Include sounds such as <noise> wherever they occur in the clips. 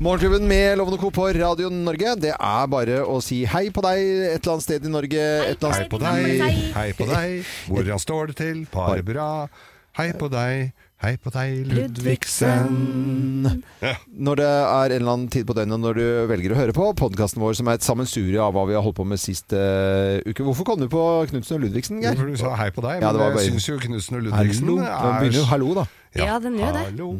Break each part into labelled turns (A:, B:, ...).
A: Morgenklubben med Lovende Co. på Radio Norge. Det er bare å si hei på deg et eller annet sted i Norge. et eller
B: Hei
A: annet
B: på deg, hei på deg, hvordan står det til, bare bra. Hei på deg, hei på deg, Ludvigsen. Ja.
A: Når det er en eller annen tid på døgnet når du velger å høre på podkasten vår, som er et sammensurie av hva vi har holdt på med sist eh, uke. Hvorfor kom du på Knutsen og Ludvigsen, Geir?
B: For du sa hei på deg,
A: Ja,
B: men
A: det var bare-
B: jeg syns jo Knutsen og Ludvigsen
A: Hallo. Nå begynner jo
B: er
A: hallo, da.
C: Ja, den gjør det.
B: Hallo,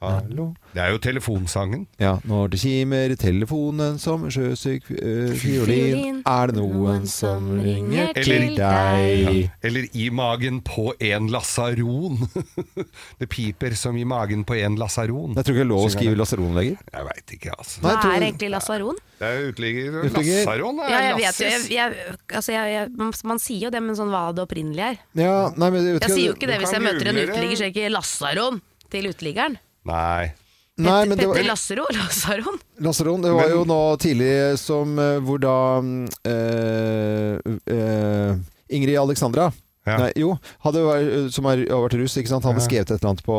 B: hallo. Det er jo telefonsangen.
A: Ja, når det kimer i telefonen som en sjøsyk øh, fiolin,
C: Fiolin.
A: er det noen som ringer til
B: Eller-
A: deg.
B: Eller i magen på en lasaron. <laughs> det piper som i magen på en lasaron.
A: Jeg tror ikke det er lov å skrive lasaron lenger.
B: Jeg veit ikke, altså.
A: Nei,
C: Hva
A: jeg tror-
C: er egentlig lasaron?
B: Det er jo uteligger.
A: Uteligger.
B: Lasaron er
C: Ja, jeg vet jo jeg,
B: lassis.
C: jeg, altså jeg, jeg, man, man sier jo det, men sånn hva det opprinnelig er.
A: Ja, nei, men vet
C: Jeg sier jo ikke det
B: du
C: hvis
B: kan
C: jeg møter en
B: google det.
C: uteligger, så er det ikke lasaron til uteliggeren.
B: Nei.
A: Nei, men det
C: Petter
A: var
C: Lassero, <laughs> lasaron.
A: lasaron. Det var
B: Men-
A: jo nå tidlig som øh, Hvor da øh, øh, Ingrid Alexandra
B: Ja.
A: Nei, jo, hadde, vært- som har har vært russ, ikke sant? han hadde skrevet et eller annet på,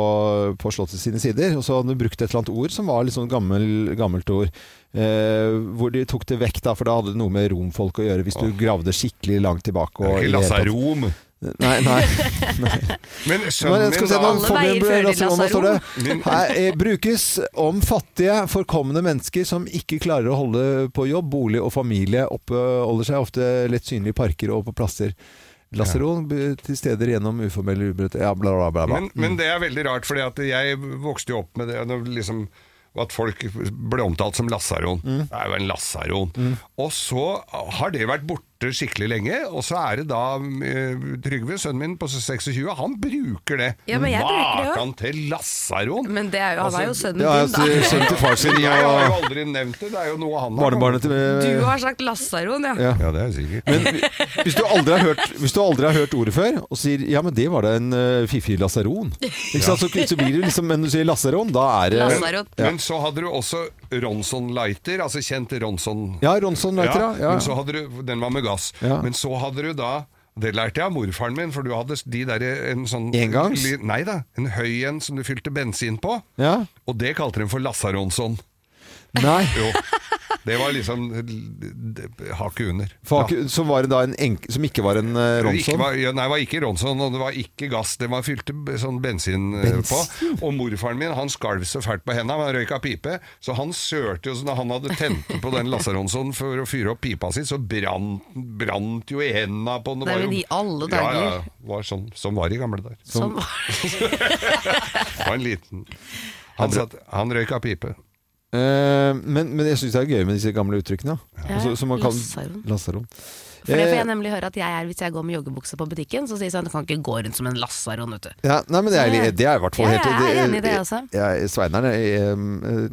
A: på Slottet sine sider, og så hadde han brukt et eller annet ord som var litt sånn gammel, gammelt ord. Eh, hvor de tok det vekk, da, for da hadde det noe med romfolk å gjøre, hvis du gravde skikkelig langt tilbake.
B: Det
A: og
B: er
A: i
B: ikke
A: det hele tatt-
B: lasaron.
A: Nei, nei.
B: <laughs> Men
A: Men
B: sønnen
A: jeg skal
B: min,
A: se, nå
C: Alle
B: da
A: får vi
C: veier fører til
A: lasaron, hva står det?
B: Min-
A: Her, eh, brukes om fattige, forkomne mennesker som ikke klarer å holde på jobb, bolig og familie, oppholder seg ofte lett synlig i parker og på plasser. Lasaron b- til steder gjennom uformelle ubrøtte Ja, bla, bla, bla. bla.
B: men, men det er veldig rart, fordi at jeg vokste jo opp med det når liksom, At folk ble omtalt som lasaron.
A: Mm.
B: Det er jo en lasaron. Og så har det vært borte skikkelig lenge, og så er det da eh, Trygve, sønnen min på 26, han bruker det.
C: Ja, men jeg bruker det også.
B: Makan til lasaron!
C: Men det er jo, han
B: Altså,
C: er jo sønnen
A: Ja,
C: din,
A: altså,
C: da.
A: sønnen til far sin
B: <laughs> Men jeg har jo
A: og
B: aldri nevnt det, det er jo noe han har
A: barnebarnet til
C: Du har sagt lasaron, ja.
A: eh, Ja.
B: Ja, det er sikkert.
A: Men hvis du, aldri har hørt, hvis du aldri har hørt ordet før, og sier 'ja, men det var da en eh, fiffig lasaron', ikke sant? Så, så blir det liksom Men når du sier lasaron, da er det
C: Lasaron.
B: Men så hadde du også Ronson Lighter, altså kjent Ronson
A: Ja, Ronson Leiter, ja. ja.
B: Men så hadde du, den var med gass.
A: Ja.
B: Men så hadde du da det lærte jeg av morfaren min, for du hadde de der en sånn
A: Engangs?
B: li- Nei da, en høy en som du fylte bensin på.
A: ja.
B: Og det kalte de for Lassaronsson.
A: Nei. <laughs>
B: Jo. Det var liksom eh, hakket under.
A: Fak, Som var det da en enke Som ikke var en eh,
B: Det Ikke
A: Ronson?
B: var, ja, nei, det var ikke Ronson, og det var ikke gass. Det var fylte b- sånn bensin, eh,
A: Bensin?
B: på. Og morfaren min han skalv så fælt på henda, han røyka pipe. Så han sørte jo sånn da han hadde tent på den Lasaronson for å fyre opp pipa si, så brant, brant jo i henda på den. Det
C: Nei,
B: var
C: men
B: jo-
C: i alle
B: Ja, ja,
C: dager.
B: det var sånn som var i gamle dager. Det
C: Sånn var det.
B: var en liten Han, satt, han røyka pipe.
A: Eh, men, men jeg syns det er gøy med disse gamle uttrykkene.
C: Ja,
A: Altså, som man kan-
C: lasaron.
A: Lasaron.
C: For det får
A: Eh,
C: jeg nemlig høre at jeg er hvis jeg går med joggebukse på butikken, så sier sånn du kan ikke gå rundt som en lasaron, vet du.
A: Ja, nei, men det er, det er i hvert fall
C: Ja,
A: helt
C: jeg er enig i det, altså.
A: jeg- Sveineren er eh,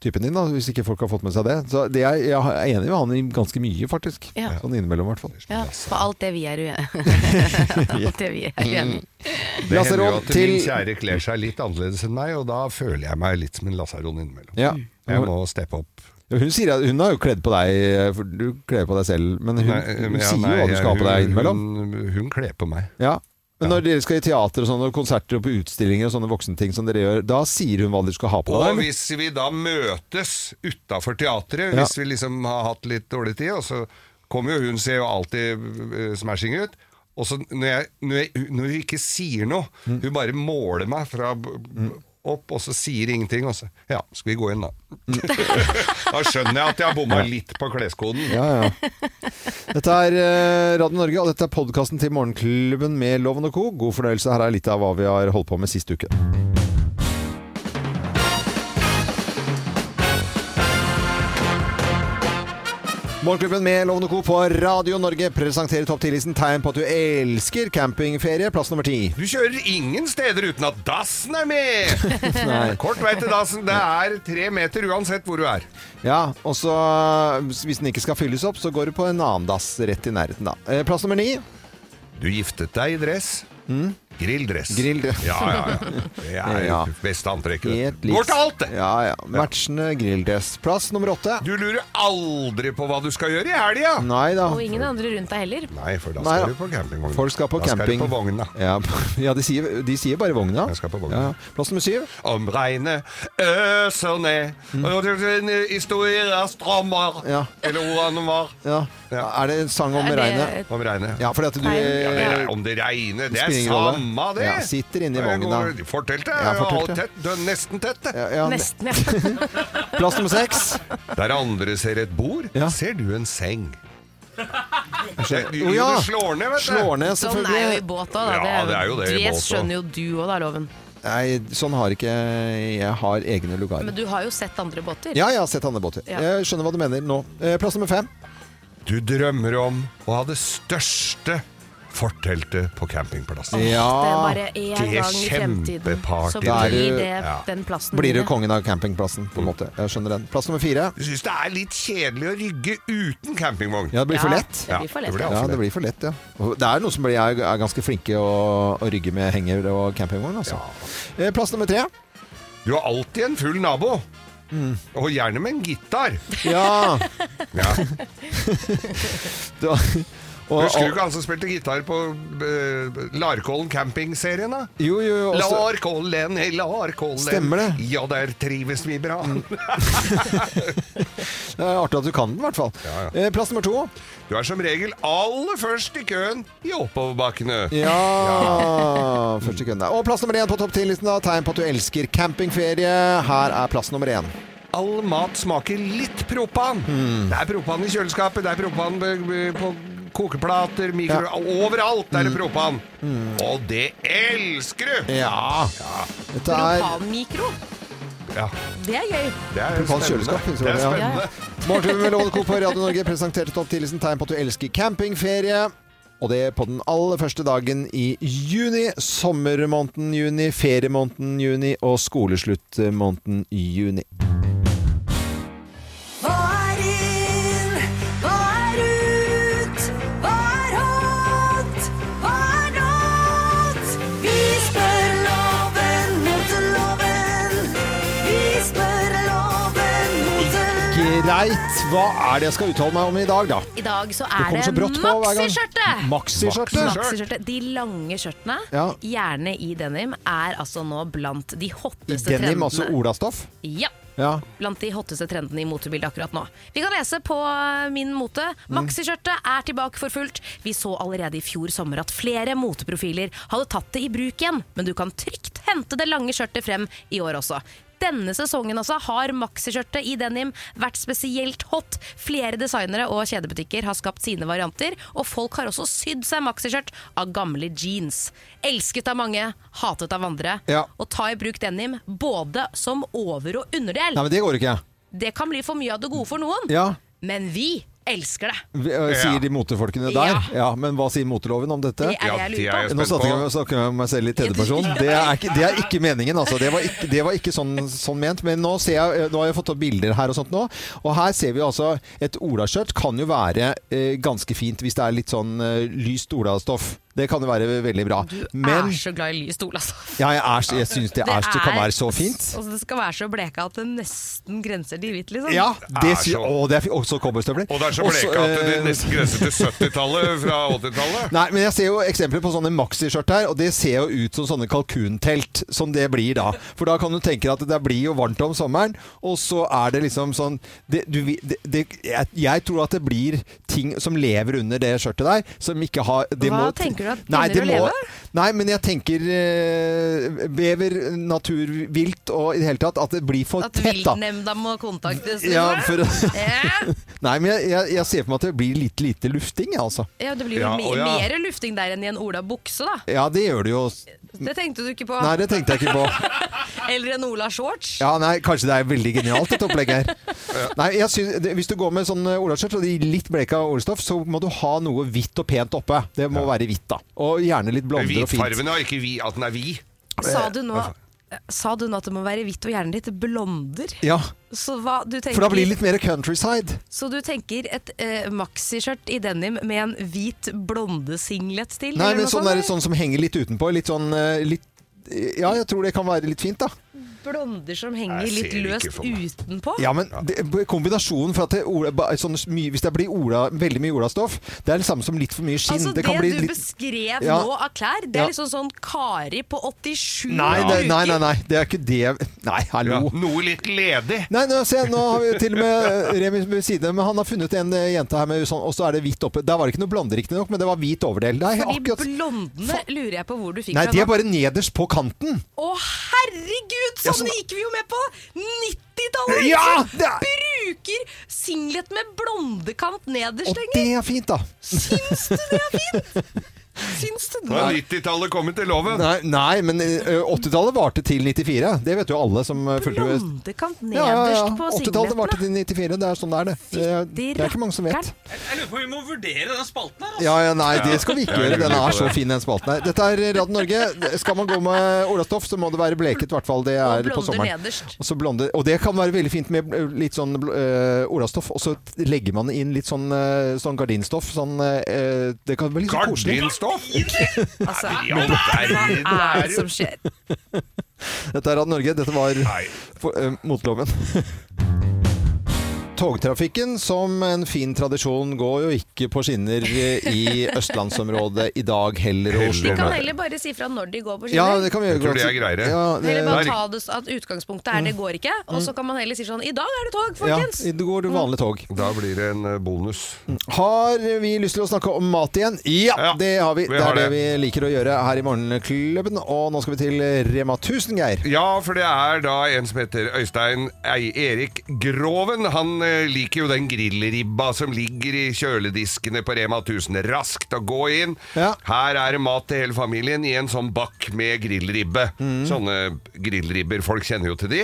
A: typen din, da, hvis ikke folk har fått med seg det. Så det er, jeg er enig med han i ganske mye, faktisk.
C: Ja.
A: Sånn innimellom, i hvert fall.
C: Ja, for alt det vi er uenige <laughs> Alt det vi er uenige i.
B: Det hender jo
A: Lasaron
B: at
A: til-
B: min kjære kler seg litt annerledes enn meg, og da føler jeg meg litt som en lasaron innimellom.
A: Ja.
B: Jeg må steppe opp.
A: Hun sier at hun har jo kledd på deg, eh, for du kler på deg selv, men hun,
B: Nei, eh,
A: hun
B: ja,
A: sier jo
B: nei,
A: hva du skal ha på deg innimellom.
B: Hun, hun kler på meg.
A: Ja. Men når dere skal i teater og sånne og konserter og på utstillinger og sånne voksenting som dere gjør, da sier hun hva dere skal ha på
B: Og
A: deg? eller?
B: hvis vi da møtes utafor teatret,
A: Ja.
B: hvis vi liksom har hatt litt dårlig tid, og så kommer jo hun ser jo alltid eh, smashing ut. Og så når, jeg, når, jeg, når hun ikke sier noe,
A: Mm.
B: hun bare måler meg fra b- b- opp, og så sier ingenting, og så Ja, skal vi gå inn, da?
A: Mm.
B: <laughs> da skjønner jeg at jeg har bomma litt på kleskoden.
A: Ja, ja. Dette er eh, Radio Norge, og dette er podkasten til Morgenklubben med Loven og Co. God fornøyelse. Her er litt av hva vi har holdt på med sist uke. Morgenklubben med Loven og Co. på Radio Norge presenterer topp 10-listen tegn på at du elsker campingferie. Plass nummer ti.
B: Du kjører ingen steder uten at dassen er med!
A: <laughs> Nei.
B: Kort vei til dassen. Det er tre meter uansett hvor du er.
A: Ja, og så Hvis den ikke skal fylles opp, så går du på en annen dass rett i nærheten, da. Eh, Plass nummer ni.
B: Du giftet deg i dress. Grilldress.
A: Grilldress.
B: Ja, ja, ja. Det er jo
A: Mm. Ja.
B: beste antrekket. det.
A: Helt
B: Går til alt, det!
A: Ja, ja. Matchende grilldress. Plass nummer åtte.
B: Du lurer aldri på hva du skal gjøre i helga!
A: Nei da.
C: Og ingen andre rundt deg heller.
B: Nei, for da
A: Nei,
B: skal
A: da.
B: du på campingvogn.
A: Folk skal på
B: da
A: camping.
B: skal du på vogna.
A: Ja, <laughs> ja de, sier, de sier bare vogna.
B: Jeg skal på vogna.
A: Ja. Plass nummer syv.
B: Om regnet øser ned, og det- historier strammer
A: Mm. Ja.
B: Eller ordene var
A: Ja.
B: Ja.
A: Er det en sang om
C: Er eh, det-
A: regnet?
B: om regnet.
A: Ja, fordi at du
C: Nei.
B: Ja, det
A: eh,
B: er, om det regner, det er
A: Spiller ingen rolle.
B: samme det.
A: Ja, sitter inne i
B: Jeg
A: vogna.
B: går- Forteltet
A: Ja,
B: er jo
A: forteltet.
B: alt tett, det er nesten tett. det.
A: ja, ja.
C: Nesten, ja.
A: <laughs> Plass nummer
B: <laughs>
A: seks.
B: Der andre ser et bord,
A: Ja.
B: ser du en seng. Det, du,
A: Å, ja.
B: du slår ned, vet du.
A: Slår ned,
C: Sånn er jo i
A: selvfølgelig.
C: båt òg, da.
B: Ja, det er jo det i båt også.
C: skjønner jo du òg, da, Loven.
A: Nei, sånn har ikke Jeg har egne lugarer.
C: Men du har jo sett andre båter.
A: Ja, jeg har sett andebåter.
C: Ja.
A: Jeg skjønner hva du mener nå. Eh, Plass nummer fem.
B: Du drømmer om å ha det største forteltet på campingplassen.
C: Det er
A: Ja.
C: bare én
B: Det er
C: gang i fremtiden,
B: kjempeparty.
C: så
A: Da er
C: blir
A: du-
C: det
B: Ja.
C: den plassen
A: Blir du
C: din.
A: kongen av campingplassen, på en måte. Jeg skjønner den. Plass nummer fire.
B: Du syns det er litt kjedelig å rygge uten campingvogn.
A: Ja, det blir for
C: Ja.
A: lett.
C: Det blir for lett,
A: Ja, det blir for lett, ja. Og Det er noen som blir, er, er ganske flinke å, å rygge med henger og campingvogn, altså. Eh, Plass nummer tre.
B: Du har alltid en full nabo.
A: Mm.
B: Og gjerne med en gitar.
A: Ja!
B: Ja.
A: Du, og,
B: Husker du
A: og,
B: ikke han som spilte gitar på eh, Larkollen camping-serien? da?
A: jo, jo, også,
B: Larkollen, hei, Larkollen.
A: Stemmer det.
B: Ja, der trives vi bra.
A: det er artig at du kan den, i hvert fall.
B: Ja,
A: Eh, Plass nummer to.
B: Du er som regel aller først i køen i oppoverbakkene.
A: Ja! Første køen der. Og plass nummer én på topp ti-listen, da. Tegn på at du elsker campingferie. Her er plass nummer én.
B: All mat smaker litt propan.
A: Hmm.
B: Det er propan i kjøleskapet, det er propan be- be- på kokeplater, mikro... Overalt er det
A: Hmm.
B: propan. Og det elsker du!
A: Ja! Dette er
C: Propanmikro,
B: Ja,
C: det er gøy.
B: det er
A: Propan
B: spennende.
A: kjøleskap, tror jeg,
B: Det er
A: ja.
B: spennende.
A: Morgenklubben med Lovende Co. på Radio Norge presenterte topp 10-listen tegn på at du elsker campingferie. Og det på den aller første dagen i juni. Sommermåneden juni, feriemåneden juni og skolesluttmåneden juni.
D: Hva er inn? Hva er ut? Hva er hot? Hva er not? Vi spør loven mot loven. Vi spør loven mot loven.
A: Greit. Hva er det jeg skal uttale meg om i dag, da?
C: I dag så
A: Det
C: er
A: kommer så
C: det
A: brått på hver gang.
C: maxiskjørtet!
A: Maxiskjørtet.
B: Maxi.
C: Maxiskjørtet. De lange skjørtene,
A: Ja.
C: gjerne i denim, er altså nå blant de
A: I
C: hotteste
A: denim, altså
C: trendene.
A: olastoff.
C: Ja,
A: Ja.
C: blant de hotteste trendene i motebildet akkurat nå. Vi kan lese på eh, Min Mote. Maxiskjørtet er tilbake for fullt. Vi så allerede i fjor sommer at flere moteprofiler hadde tatt det i bruk igjen, men du kan trygt hente det lange skjørtet frem i år også. Denne sesongen også har maxiskjørtet i denim vært spesielt hot. Flere designere og kjedebutikker har skapt sine varianter, og folk har også sydd seg maxiskjørt av gamle jeans. Elsket av mange, hatet av andre.
A: Ja.
C: Og ta i bruk denim både som over- og underdel.
A: Nei, men det går ikke.
C: Det kan bli for mye av det gode for noen,
A: Ja.
C: men vi elsker det.
A: Vi, øh, Sier
B: Ja.
A: de motefolkene der.
C: Ja.
A: Ja, Men hva sier moteloven om dette?
C: Det er det
B: Ja, det
C: jeg
B: er
C: lurer
B: jeg
C: på.
A: Nå snakker jeg,
B: spent på.
A: snakker jeg meg selv i tredjeperson. Det, er ikke- det er ikke meningen, altså. Det var ikke, det var ikke sånn, sånn ment. Men nå, ser jeg, eh, nå har jeg fått opp bilder her og sånt nå. Og her ser vi altså et olaskjørt kan jo være eh, ganske fint hvis det er litt sånn eh, lyst olastoff. Det kan jo være veldig bra.
C: Jeg
A: Men
C: er så glad i lys stol, altså.
A: ja, jeg, er så- jeg syns det, er så- kan være så fint.
C: Altså, det skal være så bleka at det nesten grenser til hvitt, liksom.
A: Ja, det
B: er
A: sy-
B: så-
A: og det er fi- også cowboystøvler.
B: Og det er så
A: Også,
B: bleka at det
A: eh,
B: nesten grenser til 70-tallet fra
A: <laughs>
B: 80-tallet.
A: Nei, men jeg ser jo eksempler på sånne maxiskjørt her, og det ser jo ut som sånne kalkuntelt, som det blir da. For da kan du tenke deg at det blir jo varmt om sommeren, og så er det liksom sånn det, du, vi- det, det, jeg, jeg tror at det blir ting som lever under det skjørtet der, som ikke har det
C: Hva
A: må-
C: tenker du at
A: Nei, det
C: begynner å
A: må-
C: leve?
A: Nei, men jeg tenker eh, vever, naturvilt og i det hele tatt at det blir for
C: At
A: tett, da.
C: viltnemnda må kontaktes. liksom.
A: Ja, for,
C: ja.
A: <laughs> nei, men jeg, jeg, jeg ser for meg at det blir litt lite lufting, jeg, altså.
C: ja, det blir jo
B: Ja,
C: me-
B: å, ja.
C: mer lufting der enn i en Ola bukse, da.
A: Ja, det gjør det jo.
C: Det tenkte du ikke på.
A: Nei, det tenkte jeg ikke på.
C: Eller en Ola shorts.
A: Ja, nei, kanskje det er veldig genialt dette opplegget her. Nei, jeg synes, det, Hvis du går med sånn eh, olaskjørt og de litt bleka olstoff, så må du ha noe hvitt og pent oppe. Det må være hvitt, da. Og gjerne litt blonder og fint. eh,
B: Hvitfargen er ikke vi, at den er vi.
C: Sa du nå Sa du nå at det må være hvitt og hjernen ditt blonder?
A: Ja,
C: Så, hva, du tenker,
A: for da blir det litt mer countryside.
C: så du tenker et eh, maxiskjørt i denim med en hvit blondesinglet til?
A: Nei,
C: eller
A: men
C: noe
A: sånn,
C: sånt,
A: der,
C: eller?
A: sånn som henger litt utenpå. Litt sånn eh, litt, Ja, jeg tror det kan være litt fint, da.
C: Blonder som henger
B: Jeg ser
C: litt
B: det ikke
C: løst
B: for meg.
C: utenpå?
A: Ja, men det, kombinasjonen for at det, Ola, ba- sånn, mye- Hvis det blir Ola, veldig mye olastoff, det er det samme som litt for mye skinn.
C: Altså Det,
A: kan bli
C: du
A: litt
C: beskrev
A: Ja.
C: nå av klær, det er
A: Ja.
C: liksom sånn Kari på 87
A: nei, det,
C: uker.
A: nei, nei, nei. Det er ikke det Nei,
B: Ja,
A: hallo.
B: noe litt ledig.
A: Nei, nå, se, nå har vi jo til og med eh, Remi ved siden av, men han har funnet en eh, jente her med sånn, og så er det hvitt oppe. Der var det ikke noe blonde, riktignok, men det var hvit overdel. Det er
C: De
A: akkurat
C: blondene lurer jeg på hvor du fikk
A: Nei,
C: fra.
A: de er
C: nå.
A: bare nederst på kanten.
C: Å herregud,
A: Ja,
C: sånn
A: sånn-
C: gikk vi jo med på 90-tallet!
A: Ja,
C: liksom.
A: det er-
C: Bruker singlet med blondekant nederst
A: Og
C: lenger.
A: det er fint, da.
C: Syns du det er
A: <laughs>
C: fint? Syns du
B: Nå
C: det?
B: er 90-tallet kommet til loven.
A: Nei, nei men eh, 80-tallet varte til 94. Det vet jo alle som eh, fulgte med.
C: Blondekant
A: Ja, ja, ja.
C: nederst på
A: 80-tallet varte
C: singletene.
A: til 94. Det er sånn det er, det. Det er, det er ikke mange som vet.
C: Rakkeren.
E: Jeg lurer på om vi må vurdere den spalten her. Altså.
A: Ja, ja, nei, det skal vi ikke
B: Ja, jeg
A: gjøre. Den
B: lurer på
A: er så
B: det.
A: fin, den spalten her. Dette er Radio Norge. Skal man gå med olastoff, så må det være bleket, i hvert fall. Det
C: Og
A: er på
C: blonder
A: sommeren.
C: nederst.
A: Og, så blonde, og det kan være veldig fint med eh, litt sånn eh, olastoff, og så t- legger man inn litt sånn, eh, sånn gardinstoff. Sånn, eh, det kan bli litt sånn koselig.
B: Gardinstoff!
C: Altså,
B: Ja, men verden
C: hva er
B: er
C: det
B: jo
C: som skjer?
A: Dette er Radio Norge. Dette var
B: Nei.
A: for, eh, motloven. <laughs> Togtrafikken som en fin tradisjon går jo ikke på skinner eh, i østlandsområdet i dag heller. og Oslo.
C: Vi kan heller bare si fra når de går på
A: Ja,
C: skinner.
A: det kan vi gjøre.
B: Jeg tror
A: godt.
B: det er greiere.
A: Ja,
C: Eller bare
B: Det er-
C: ta det s- at utgangspunktet er det går ikke, og så kan man heller si sånn I dag er det tog,
A: Mm. ja,
C: folkens!
A: det går vanlig tog.
B: Da blir det en eh, bonus.
A: Har vi lyst til å snakke om mat igjen? Ja,
B: Ja,
A: det har vi.
B: vi
A: det
B: har
A: er det.
B: det.
A: vi liker å gjøre her i Morgenklubben. Og nå skal vi til Rema 1000, Geir.
B: Ja, for det er da en som heter Øystein Ei Erik Groven. Han eh, liker jo den grillribba som ligger i kjølediskene på Rema 1000. Raskt å gå inn.
A: Ja.
B: Her er det mat til hele familien i en sånn bakk med grillribbe. Sånne grillribber, folk kjenner jo til de.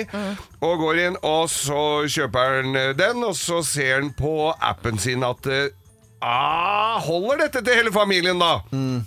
B: Og går inn, og så kjøper han eh, den, og så ser han på appen sin at eh, Ah, holder dette til hele familien, da?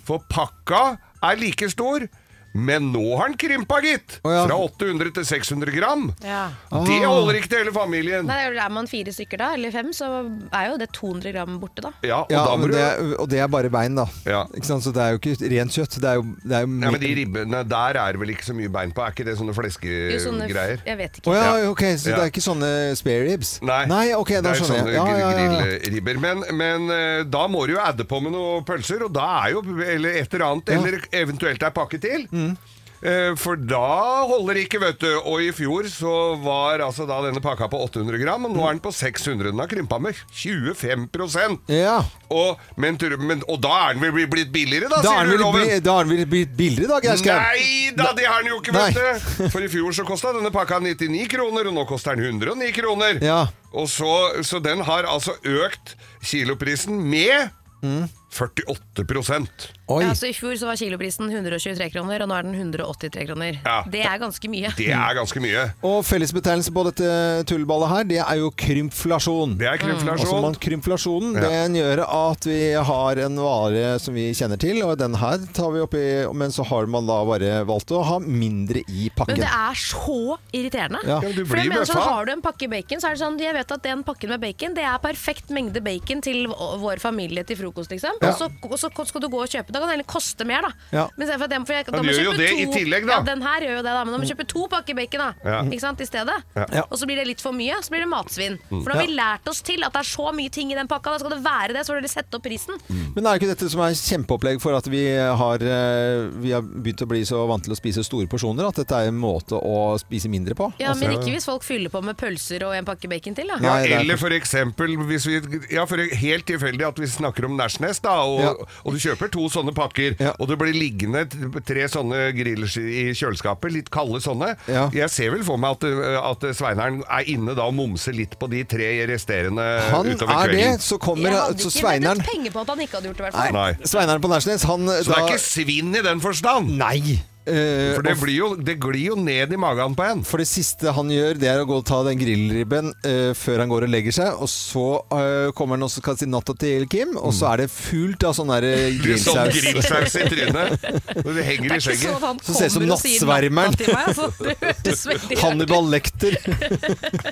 B: For pakka er like stor, men nå har den krympa, gitt.
A: Å, ja. Ah.
B: Fra 800 til 600 gram.
C: Ja.
B: Det holder ikke til hele familien.
C: Nei, Er man fire stykker da, eller fem, så er jo det 200 gram borte, da.
B: Ja, og
A: Ja,
B: da må
A: men
B: du
A: det, er- og det er bare bein, da.
B: Ja.
A: Ikke sant? Så det er jo ikke rent kjøtt. Det er jo, det er jo
B: Nei, men De ribbene der er vel ikke så mye bein på? Er ikke det sånne
C: Det er jo sånne f-
B: fleskegreier?
C: Jeg vet
A: Å
C: ikke.
A: ja,
B: Ja.
A: ok, så
B: Ja.
A: det er ikke sånne spare ribs?
B: Nei,
A: ok, da
B: det er
A: skjønner jeg. Ja,
B: sånne
A: ja, ja, ja.
B: grillribber. Men, men eh, da må du jo adde på med noen pølser, og da er jo eller et eller annet,
A: Ja. Mm.
B: eller eventuelt ei pakke til. Eh, For da holder det ikke, vet du. Og i fjor så var altså da denne pakka på 800 gram,
A: Mm.
B: og nå er den på 600. Den har krympa med 25
A: ja.
B: og, men, tror- men, og da er den vel blitt billigere, da,
A: Da
B: sier
A: er
B: du,
A: den vel
B: Loven?
A: bli- da er den vel blitt billigere, da, Geir Skau?
B: Nei da, det har den jo ikke, vet
A: Nei.
B: du. For i fjor så kosta denne pakka 99 kroner, og nå koster den 109 kroner.
A: Ja.
B: Og så, så den har altså økt kiloprisen med
A: Mm.
B: 48
A: Oi.
C: Ja, altså I fjor så var kiloprisen 123 kroner, og nå er den 183 kroner.
B: Ja.
C: Det er ganske mye.
B: Det er ganske mye.
A: Og fellesbetegnelse på dette tulleballet her, det er jo krympflasjon.
B: Det er
A: Altså
B: krympflasjon.
A: man, krympflasjonen
B: Ja.
A: den gjør at vi har en vare som vi kjenner til, og den her tar vi oppi, men så har man da bare valgt å ha mindre i
C: Men
A: pakken.
C: det er så irriterende.
A: Ja.
B: Ja, men du
C: For jeg
B: blir
C: mener sånn,
B: bøffa.
C: Har du en pakke bacon, så er det sånn Jeg vet at den pakken med bacon Det er perfekt mengde bacon til v- vår familie til frokost, liksom.
A: Ja.
C: Og, så, og så skal du gå og kjøpe. Da kan det heller koste mer, da.
A: Ja.
C: Men i stedet for at den, for jeg, da
B: Ja,
C: må
B: den
C: jeg
B: gjør jo
C: kjøpe
B: det i
C: to-
B: tillegg, da.
C: Ja, den her gjør jo det, da. Men da må jeg kjøpe to pakker bacon, da.
B: Ja.
C: Ikke sant, i stedet.
A: Ja. Mm.
C: Og så blir det litt for mye, så blir det matsvinn. For nå har vi lært oss til at det er så mye ting i den pakka, da skal det være det, så får dere sette opp prisen.
A: Men er det ikke dette som er kjempeopplegg for at vi har, eh, vi har begynt å bli så vant til å spise store porsjoner, at dette er en måte å spise mindre på?
C: Ja,
A: Altså-
C: Men ikke hvis folk fyller på med pølser og en pakke bacon til, da.
B: Ja,
A: Nei, det er
B: eller for eksempel hvis vi, ja, for helt tilfeldig at vi snakker om Nashnes, da, og,
A: Ja.
B: og du kjøper to sånne pakker,
A: Ja.
B: og det blir liggende t- tre sånne grillers i kjøleskapet, litt kalde sånne.
A: Ja.
B: Jeg ser vel for meg at, uh, at Sveineren er inne da og momser litt på de tre resterende
A: Han
B: Eh, utover
A: er det,
B: kvelden.
A: så kommer
C: jeg hadde
A: eh, så
C: ikke veddet
A: Sveineren
C: penger på at han ikke hadde gjort det, i hvert fall.
A: Nei.
B: Nei.
A: Sveineren på Nærsnes, han
B: Så det er ikke svinn i den forstand.
A: Nei! Eh,
B: For det,
A: og
B: blir jo, det glir jo ned i magen på en.
A: For det siste han gjør, det er å gå og ta den grillribben eh, før han går og legger seg. Og så eh, kommer han og skal si natta til Kim, og så er det fullt av sånn der eh,
B: Det er Mm. <laughs> Sånn
A: grillsaus.
B: grillsaus i trynet. Når du henger i
C: Ikke sånn at
B: skjegget.
C: han
A: Så ser det ut som
C: kommer og sier
A: nattsvermeren.
C: natta til meg, altså.
A: <laughs>
C: Det hørtes veldig
A: Hannibal
B: <laughs>
A: Lekter <laughs>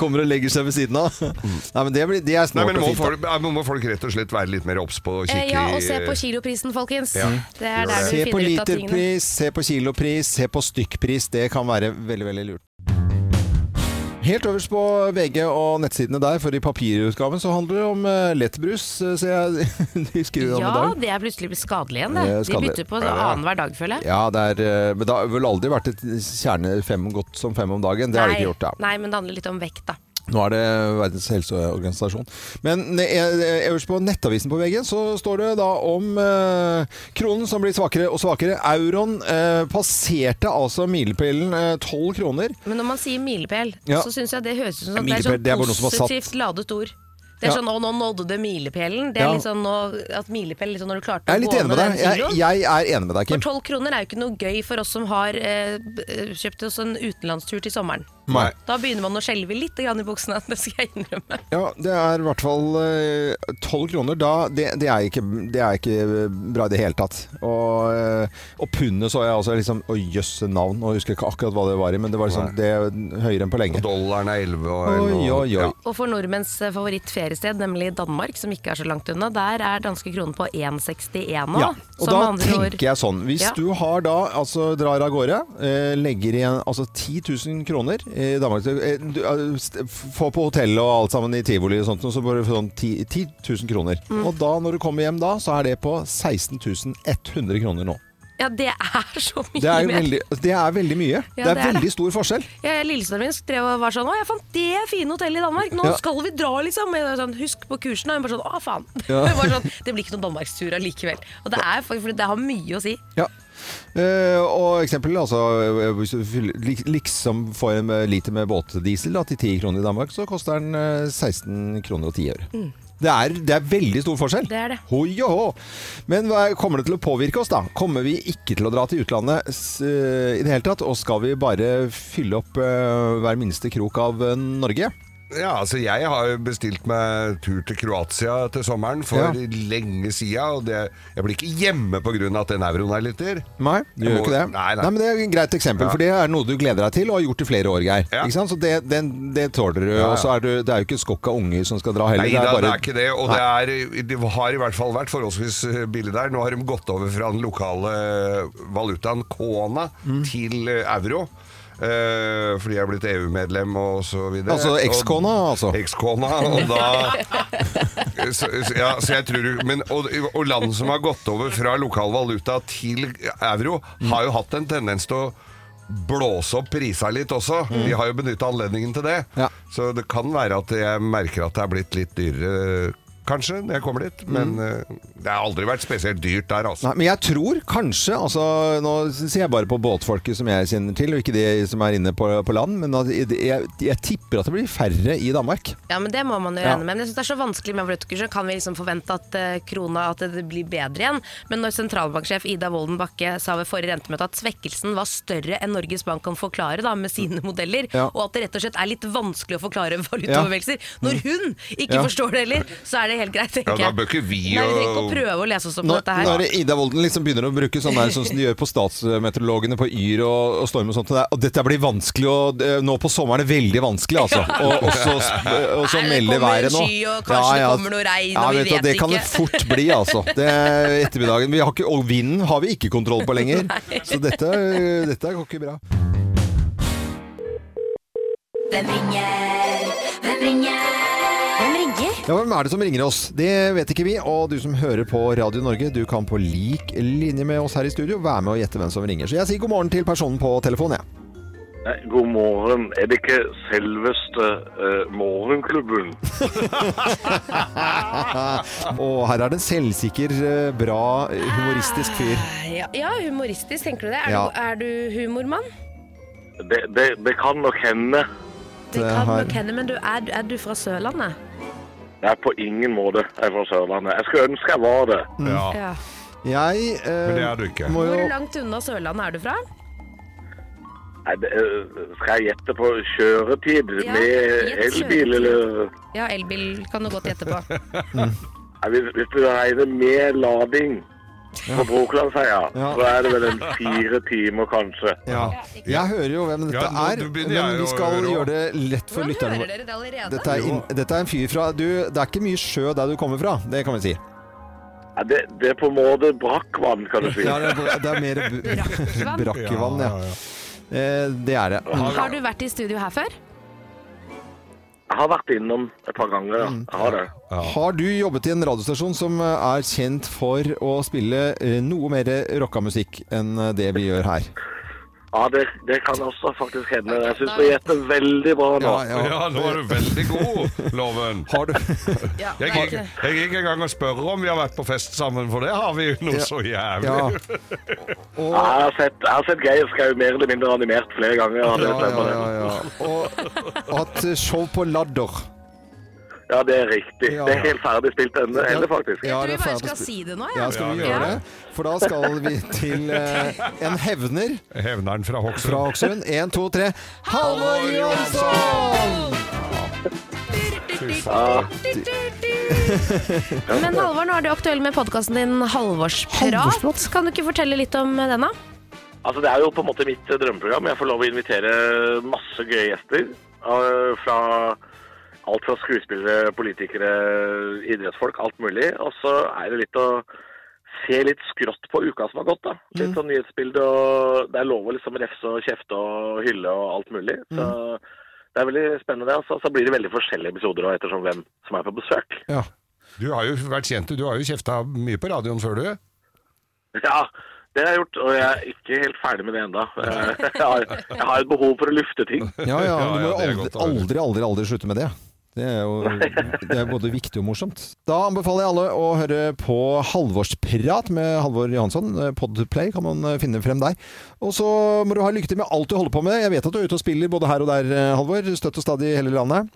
A: kommer og legger seg ved siden av. Nei, men det, blir, det er
B: Mm. Nei,
A: snålt
B: men
A: og
B: må
A: fint. da.
B: folk, ja, men må folk rett og slett være litt mer obs på å
C: Eh,
B: kikke
C: Ja, og se
B: i-
C: på kiloprisen, folkens.
B: Ja.
C: Det er der du
A: Se på
C: finner ut av tingene.
A: literpris, se på kilopris, se på stykkpris. Det kan være veldig, veldig lurt. Helt øverst på VG og nettsidene der, for i papirutgaven så handler det om eh, lettbrus, eh, ser jeg <laughs> de skriver om i
C: Ja,
A: dag.
C: det er plutselig blitt skadelig igjen,
A: Det
C: det.
A: er
C: De
A: skadelig.
C: bytter på
B: Ja, det er.
C: annenhver dag, føler jeg.
A: Ja, det er, eh, men det har vel aldri vært et kjerne fem godt som fem om dagen. Det har det ikke gjort, ja.
C: Nei, men det handler litt om vekt, da.
A: Nå er det Verdens helseorganisasjon. Men eh, øverst på nettavisen på veggen så står det da om eh, kronen som blir svakere og svakere. Euroen eh, passerte altså milepælen tolv kroner.
C: Men når man sier milepæl,
A: Ja.
C: så syns jeg det høres ut som at det er
A: Milepæl,
C: sånn
A: det er bare noe som er satt.
C: positivt ladet ord. Det er
A: Ja.
C: sånn 'å, nå nådde du milepælen'. Det er
A: Ja.
C: litt sånn nå, at milepæl litt sånn når du klarte
A: Jeg
C: å
A: er
C: gå
A: litt enig med deg.
C: den
A: Jeg,
C: kiloen.
A: jeg er enig med deg,
C: For
A: Kim.
C: tolv kroner er jo ikke noe gøy for oss som har eh, b- eh, kjøpt oss en utenlandstur til sommeren.
A: Nei.
C: Da begynner man å skjelve litt grann i buksene, <laughs> det skal jeg innrømme.
A: Ja, det er i hvert fall eh, tolv kroner. Da, det, det, er ikke, det er ikke eh, bra i det hele tatt. Og, eh, og pundet så jeg også liksom Å, jøsse navn. Og jeg husker ikke akkurat hva det var i, men det var liksom,
B: Nei.
A: det er høyere enn på lenge.
B: Dollaren er 11 og
A: Oi, oi, oi.
B: Ja.
C: Og for nordmenns eh, favorittferiested, nemlig Danmark, som ikke er så langt unna, der er danske kroner på 1,61 nå.
A: Ja, og
C: Som
A: da
C: med andre ord-
A: tenker jeg sånn. Hvis
C: Ja.
A: du har da, altså drar av gårde, eh, legger igjen altså 10 000 kroner i Danmark eh, du, eh, st- Få på hotell og alt sammen i tivoli og sånt, og så bare få sånn 10, 000 kroner.
C: Mm.
A: Og da, når du kommer hjem da, så er det på 16 100 kroner nå.
C: Ja, det er så mye
A: Det er,
C: mer.
A: veldig, det er veldig mye.
C: Ja,
A: det er
C: det er det.
A: veldig stor forskjell.
C: Ja, Lillesøsteren min drev og var sånn Å, jeg fant det fine hotellet i Danmark, nå
A: Ja.
C: skal vi dra, liksom. Jeg var sånn, Husk på kursen. Og hun bare sånn Å, faen. <laughs>
A: Ja.
C: Det, var sånn, det blir ikke noen danmarkstur allikevel. Og det er faktisk, for det har mye å si.
A: Ja. Eh, og eksempel, altså, eh, hvis du fyller- lik- liksom får en eh, liter med båtdiesel da, til 10 kroner i Danmark, så koster den eh, 16 kroner og 10 øre. Det, er, det er veldig stor forskjell.
C: Mm. Det er det.
A: Hoi og hå. Men hva, kommer det til å påvirke oss, da? Kommer vi ikke til å dra til utlandet s- eh, i det hele tatt? Og skal vi bare fylle opp eh, hver minste krok av eh, Norge?
B: Ja, altså jeg har jo bestilt meg tur til Kroatia til sommeren for
A: Ja.
B: lenge siden, og det, jeg blir ikke hjemme på grunn av at den euroen er litt dyr.
A: Nei, du
B: Jeg
A: gjør
B: må-
A: ikke det.
B: Nei, nei.
A: men Det er et greit eksempel, for det er noe du gleder deg til og har gjort i flere år, Geir.
B: Ja.
A: Ikke sant? Så det, den- det tåler du.
B: ja.
A: Og så er du, det er jo ikke en skokk av unger som skal dra heller.
B: Nei, det er,
A: bare-
B: det er ikke det, og det, er, det har i hvert fall vært forholdsvis eh, billig der. Nå har de gått over fra den lokale eh, valutaen kona
A: Mm.
B: til euro. eh, fordi jeg er blitt EU-medlem og så videre.
A: Altså ekskona,
B: Og-
A: altså.
B: Ekskona, og da <laughs> så, så- ja, så jeg tror, du- men, og, og land som har gått over fra lokal valuta til euro, har jo hatt en tendens til å blåse opp prisa litt også. De har jo benytta anledningen til det.
A: Mm. Ja.
B: Så det kan være at jeg merker at det er blitt litt dyrere, kanskje, når jeg kommer dit. Men
A: Mm.
B: eh, det har aldri vært spesielt dyrt der, altså.
A: Nei, men jeg tror kanskje altså, Nå sier jeg bare på båtfolket som jeg kjenner til, og ikke de som er inne på, på land, men at jeg, jeg tipper at det blir færre i Danmark.
C: Ja, men det må man jo
A: Ja.
C: regne med. Men jeg synes det er så vanskelig med valutakursen. Kan vi liksom forvente at eh, krona at det blir bedre igjen? Men når sentralbanksjef Ida Wolden Bakke sa ved forrige rentemøte at svekkelsen var større enn Norges Bank kan forklare da, med sine modeller,
A: Ja.
C: og at det rett og slett er litt vanskelig å forklare valutabevegelser Når hun ikke
A: Mm. Ja.
C: forstår det heller, så er det helt greit,
B: Ja,
C: tenker
B: da
C: jeg.
B: bør ikke vi
C: Nei, vi trenger ikke å
B: og-
C: prøve å lese oss opp på
A: Når,
C: dette her.
A: når Ida Wolden liksom begynner å bruke sånn der sånn som de gjør på statsmeteorologene på Yr og, og Storm og sånt, og det er- og dette blir vanskelig, og eh, nå på sommeren er det veldig vanskelig, altså. Og, og så,
C: <laughs>
A: sp- og så
C: Nei, det
A: melder
C: kommer en
A: været nå.
C: sky, og kanskje det kommer noe regn, og vi
A: vet du,
C: vet
A: Det kan
C: ikke.
A: det fort bli, altså. Det er ettermiddagen. Vi har ikke, og vinden har vi ikke kontroll på
C: <laughs>
A: lenger. Så dette, eh, dette går ikke bra.
D: Hvem ringer? Hvem ringer? Hvem ringer?
A: Ja, Hvem er det som ringer oss? Det vet ikke vi. Og du som hører på Radio Norge, du kan på lik linje med oss her i studio være med og gjette hvem som ringer. Så jeg sier god morgen til personen på telefonen, jeg.
F: Nei, god morgen. Er det ikke selveste eh, morgenklubben?
A: Og her er det en selvsikker, eh, bra, humoristisk fyr.
C: Ah, Ja, ja, humoristisk, tenker du det? Er,
A: Ja.
C: du, er du humormann?
F: Det, det, det kan nok hende.
A: Det
C: Det kan
A: har-
C: nok hende, men du, er, er du fra Sørlandet?
F: Jeg er på ingen måte jeg er fra Sørlandet. Jeg skulle ønske jeg var det.
B: Ja.
C: Ja.
A: Jeg eh,
B: Men det er du ikke.
A: må jo
C: Hvor langt unna Sørlandet er du fra?
F: Nei, det, eh, skal jeg gjette på kjøretid
C: Ja,
F: med
C: gjett
F: elbil,
C: kjøretid.
F: eller
C: Ja, elbil kan du godt gjette på.
F: Nei, hvis, hvis du regner med lading på Brokelandsheia,
A: Ja.
F: så er det vel en fire timer, kanskje.
A: ja. Jeg hører jo hvem dette
B: Ja, nå
A: er,
B: begynner jeg
A: men vi
B: å
A: skal
B: høre også.
A: gjøre det lett for
C: Hvordan
A: lytterne
C: hører
A: våre.
C: dere det allerede?
A: Dette er, inn- dette er en fyr fra du, Det er ikke mye sjø der du kommer fra, det kan vi si.
F: Nei, det, det er på en måte brakkvann, kan du si.
A: Ja, det, er, det er mer bu-
C: <laughs> Brakkvann.
A: brakkevann, ja.
B: Ja, ja,
A: Eh, Det er det.
C: Har du vært i studio her før?
F: Jeg har vært innom et par ganger, ja.
A: Mm.
F: Jeg har det.
A: Har du jobbet i en radiostasjon som eh, er kjent for å spille eh, noe mer rocka musikk enn eh, det vi gjør her?
F: Ja, det, det kan også faktisk hende. Jeg syns du gjetter veldig bra nå.
A: Ja,
B: ja. ja, nå er du veldig god,
A: <laughs>
B: Loven.
A: Har du
C: Ja,
B: Jeg gikk, jeg gikk en gang og spørre om vi har vært på fest sammen, for det har vi jo noe
A: Ja.
B: så jævlig.
A: Ja.
F: Ja, jeg har sett, jeg har sett Geir Skau mer eller mindre animert flere ganger. Ja, det,
A: Ja, ja,
F: stemmer det.
A: ja, ja. <laughs> Og hatt eh, show på ladder.
F: ja, det er riktig.
A: Ja.
F: Det er helt ferdig spilt ende, ende faktisk.
A: Ja, det
C: Jeg tror
A: er
C: vi bare
A: ferdig
C: skal
A: spilt.
C: si det nå,
A: Ja,
C: ja.
A: skal vi
B: Ja,
A: gjøre
C: ja.
A: det? For da skal vi til eh, en hevner
B: Hevneren fra Hokksund.
A: fra Hokksund. Én, to, tre. Halvor Jonsson!
C: Men Halvor, nå er du aktuell med podkasten din Halvorsprat. Kan du ikke fortelle litt om eh, den, da?
F: Altså, det er jo på en måte mitt eh, drømmeprogram. Jeg får lov å invitere masse gøye gjester. eh, Fra alt fra skuespillere, politikere, idrettsfolk, alt mulig. Og så er det litt å se litt skrått på uka som har gått, da. Litt sånn nyhetsbilde og Det er lov å liksom refse og kjefte og hylle og alt mulig. Så det er veldig spennende. Altså. Så blir det veldig forskjellige episoder og ettersom hvem som er på besøk. <laughs>
A: Ja.
B: Du har jo vært kjent, du har jo kjefta mye på radioen før, du.
F: Ja, det har jeg gjort, og jeg er ikke helt ferdig med det ennå. Jeg har, jeg har et behov for å lufte ting.
A: Ja, ja,
B: Ja,
A: du må jo
B: ja, det er
A: aldri,
B: godt å høre.
A: aldri, aldri, aldri slutte med det. Det er
B: <laughs>
A: jo det er både viktig og morsomt. Da anbefaler jeg alle å høre på Halvorsprat med Halvor Johansson. Podplay kan man finne frem der. Og så må du ha lykke til med alt du holder på med. Jeg vet at du er ute og spiller både her og der, eh, Halvor. Støtt og stadig i hele landet.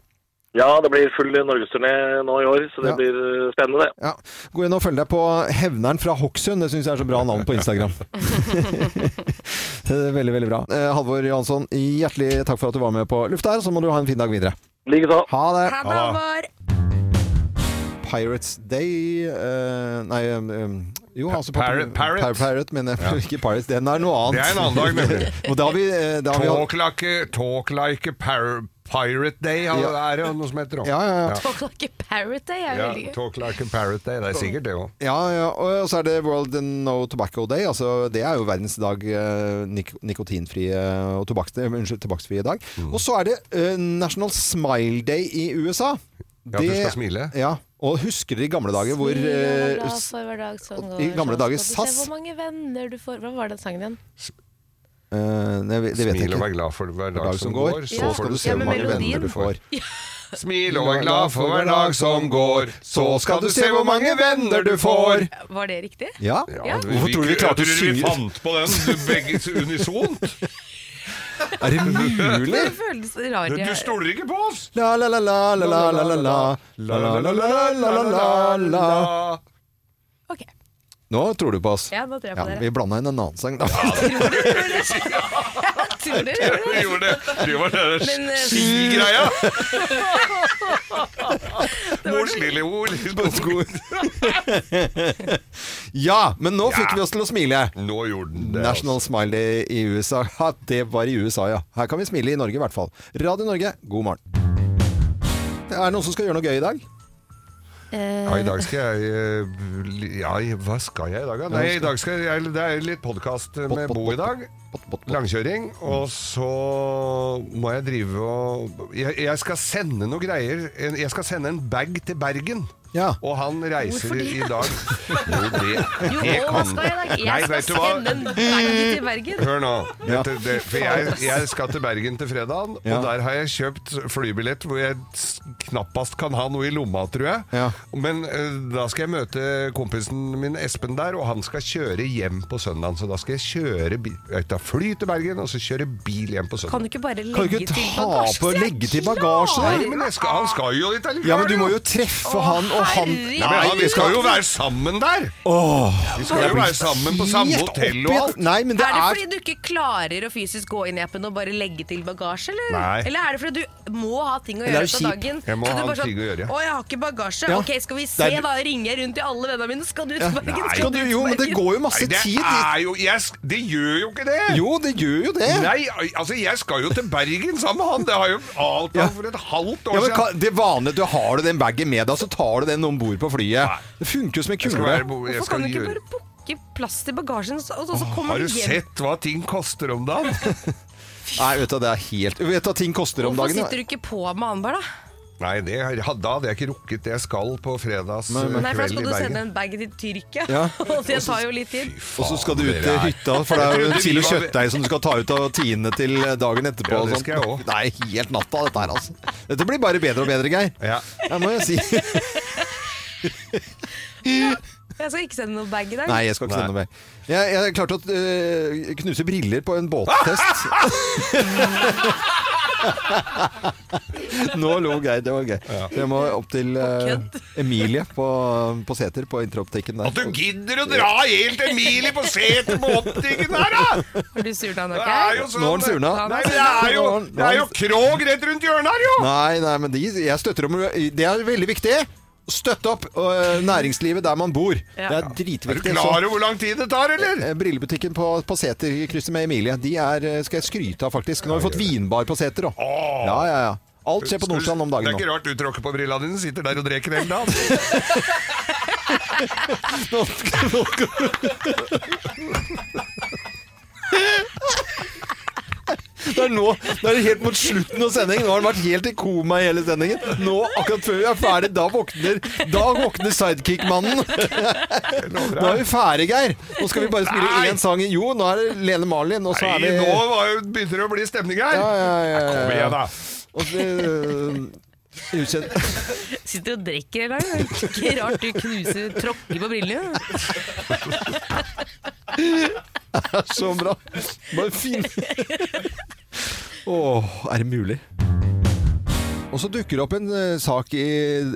F: Ja, det blir full norgesturné nå i år, så det
A: Ja.
F: blir eh, spennende.
A: Ja. Gå inn og følg deg på Hevneren fra Hokksund. Det syns jeg er så bra navn på
B: <laughs>
A: Instagram. <laughs> Det er veldig, veldig bra. Eh, Halvor Johansson, hjertelig takk for at du var med på lufta her. Så må du ha en fin dag videre.
F: Likeså.
A: Ha det!
C: Ha det, Halvor!
A: Pirates Day eh, Nei em, jo, altså på-
B: Pirate- Pirate.
A: Pir- Pirate, men jeg, <laughs> ikke Pirates. Den er noe annet.
B: Det er en annen dag, nemlig.
A: <laughs> og da har vi, eh, da har vi hatt-
B: Talk like, talk like a par Pirate Day har-
A: Ja.
B: er det noe som heter òg.
A: ja, ja, ja.
C: Folk har ikke Parrot Day, jeg er veldig gøy.
B: talk like a Pirate Day. Det er sikkert det òg.
A: Ja, ja, og så er det World No Tobacco Day. Altså, det er jo verdens dag. eh, Nik nikotinfrie og tobakks, eh, unnskyld, tobakksfrie dag.
B: Mm.
A: Og så er det eh, National Smile Day i USA.
B: Ja, du skal smile.
A: Ja, og husker dere i gamle dager hvor eh, s-
C: altså-
A: I
C: sånn
A: gamle dager SAS.
G: Hvor mange venner du får Hva var den sangen igjen?
A: eh, nei, det vet jeg
B: Smil og vær
A: ikke.
B: glad for hver
A: Dag som går, så skal du se
C: Ja,
A: hvor
C: men
A: mange venner
C: melodien-
A: du får.
B: Smil og vær glad for hver dag som går, så skal du se hvor mange venner du får.
C: Var det riktig?
A: Ja.
B: Ja,
A: Hvorfor tror du vi klarte å
B: jeg tror
A: synge-
B: Vi fant på den du, begge
C: <laughs>
B: unisont.
A: Er det mulig?
C: Det føles rar
B: Du
C: jeg-
B: stoler ikke på oss!
A: La la la la la la la la la la la la la la la
C: Ok,
A: Nå tror du på oss.
C: ja, nå tror jeg
A: Ja,
C: på dere.
A: vi blanda inn en annen sang, da.
C: Tror dere det?
B: Vi gjorde det. Det var den
C: Men, eh,
B: skigreia.
C: <laughs>
B: <laughs> Mors lille ord.
A: Ja, men nå fikk
B: Ja.
A: vi oss til å smile.
B: Nå gjorde den det. altså.
A: National Smile Day i USA. <laughs> Ha, det var i USA, ja. Her kan vi smile i Norge i hvert fall. Radio Norge, god morgen. Er det noen som skal gjøre noe gøy i dag?
B: Ja, i dag skal jeg eh, li- Ja, i- hva skal jeg i dag, da? Nei, i dag skal jeg, det er litt podkast med
A: Bot, bot,
B: Bo i dag.
A: Bot, bot, bot.
B: Langkjøring. Og så må jeg drive og jeg, jeg skal sende noe greier. En- Jeg skal sende en bag til Bergen.
A: Ja.
B: Og han reiser
C: Hvorfor det?
B: i dag. Jo, det,
C: Jo,
B: det
C: hva
B: kan
C: skal jeg i dag?
B: Nei,
C: Jeg skal
B: vet du hva?
C: sende en bag til Bergen.
B: Hør nå.
A: Ja.
B: Dette, det, for jeg, jeg skal til Bergen til fredagen,
A: Ja.
B: og der har jeg kjøpt flybillett hvor jeg s- knappast kan ha noe i lomma, tror jeg.
A: Ja.
B: Men eh, da skal jeg møte kompisen min Espen der, og han skal kjøre hjem på søndagen, så da skal jeg kjøre bil... Vet du, fly til Bergen, og så kjøre bil hjem på søndag.
C: Kan du ikke bare
A: Kan du
C: legge
A: ikke
C: til
A: ta
C: bagasje?
A: på og legge til bagasje? da?
B: Nei, men jeg skal, han skal jo dit allikevel,
A: Ja, men du må
B: jo.
A: jo treffe han og han
C: herregud.
B: Nei, men vi skal jo være sammen der!
A: Åh,
B: Vi skal jo være sammen på samme
A: helt
B: hotell
A: opp
B: og
A: i-
B: alt.
A: Nei, men det
C: Er det
A: er
C: fordi du ikke klarer å fysisk gå inn i appen og bare legge til bagasje? Eller,
B: Nei.
C: eller er det fordi du må ha ting å
A: Eller er
C: gjøre
A: du
C: på
A: kjip?
C: dagen?
B: Jeg må
C: Så du
B: ha
C: bare sånn,
B: ting å gjøre.
C: Å, jeg har ikke bagasje.
A: Ja.
C: Ok, skal vi se,
A: Det er-
C: da ringer jeg rundt til alle vennene mine. Skal du ut
A: Ja.
C: til Bergen?
B: Nei.
A: Skal
C: Skal
A: du,
C: ut til
A: jo, men det
C: Bergen?
A: går jo masse
B: Nei, det
A: tid dit.
B: er jo jeg, sk- Det gjør jo ikke det!
A: Jo, det gjør jo det.
B: Nei, altså jeg skal jo til Bergen sammen med han. Det har jo
A: Ja.
B: avtalt for et halvt år
A: Ja, men
B: siden.
A: ka- det vanlige, du Har du den bagen med deg, så tar du den om bord på flyet.
B: Nei.
A: Det funker jo som en
B: Jeg skal
A: kule.
B: være- jeg
C: Hvorfor
B: skal
C: kan du ikke
B: gjøre-
C: bare booke plass til bagasjen, så- og så, så kommer
B: Har du
C: du hjem?
B: sett hva ting koster om
A: <laughs>
B: dagen?
A: Nei, vet du, det er helt Vet du hva ting koster om
C: Hvorfor
A: dagen?
C: sitter du ikke på med annenhver, da?
B: Nei, det, har- da hadde jeg ikke rukket det jeg skal på fredags
A: Nei, men-
B: eh,
C: Nei, for da
B: kveld i
C: skal du sende
B: Bergen.
C: en bag til Tyrkia,
A: Ja.
C: <laughs> og det tar jo litt tid.
A: Og så skal du ut
B: Faen,
A: til
B: dere er-
A: hytta, for det er jo
B: Jeg
A: en
B: trodde
A: kilo
B: vi var-
A: kjøttdeig som du skal ta ut av tiende til dagen etterpå.
B: Ja,
A: og
B: det
A: sånn.
B: skal jeg også.
A: Det er helt natta, dette her, altså. Dette blir bare bedre og bedre, Geir.
B: Ja.
A: Det må jeg si.
C: Jeg skal ikke sende noen bag i dag.
A: Nei, jeg skal ikke
B: Nei.
A: sende noe mer. Jeg, jeg klarte å øh, knuse briller på en
B: <laughs>
A: båttest. Nå lo Geir, det var gøy. Jeg må opp til øh, Emilie på, på Seter, på interoptikken
B: At du
A: der.
B: gidder å dra helt Emilie på seter på optikken der,
A: <laughs>
B: da!
C: Har du surt han
B: Det
C: nok?
B: er
C: her?
B: jo sånn,
A: Nå er han surna.
B: Nei, men det er jo, det er jo krog rett rundt hjørnet her, jo!
A: Nei, nei, men de, jeg støtter om Det er veldig viktig. Støtte opp øh, næringslivet der man bor. Det er
B: Er du
A: dritviktig.
B: klar
A: Så,
B: over hvor lang tid det tar, eller?
A: eh, Brillebutikken på, på Seter i krysset med Emilie, de er, eh, skal jeg skryte av, faktisk. Nå har vi fått vinbar på Seter òg.
B: Åh.
A: Ja, ja, ja. Alt skjer på Nordstrand om dagen
B: Det er
A: nå.
B: ikke rart du tråkker på brillene dine, sitter der og dreker hele dagen.
A: Det er nå, det er helt mot slutten av sendingen. Nå har han vært helt i koma i hele sendingen. Nå, akkurat før vi er ferdig, da våkner, da våkner
B: <laughs>
A: sidekick-mannen. Nå er vi ferdig, Geir. Nå skal vi bare spille
B: Nei.
A: én sang. Jo, nå er det Lene Marlin, og så
B: Nei,
A: er vi
B: nå var jo, begynner det å bli stemning her.
A: Ja, ja, ja,
B: Kom
A: ja,
B: igjen,
A: ja.
B: da.
A: Og så, øh, ukjent.
C: Sitter og drikker hele dagen. Ikke rart du knuser tråkker på brillene.
A: Det er <laughs> så bra. Bare
B: <laughs>
A: fin. Åh, er det mulig? Og så dukker det opp en eh, sak i,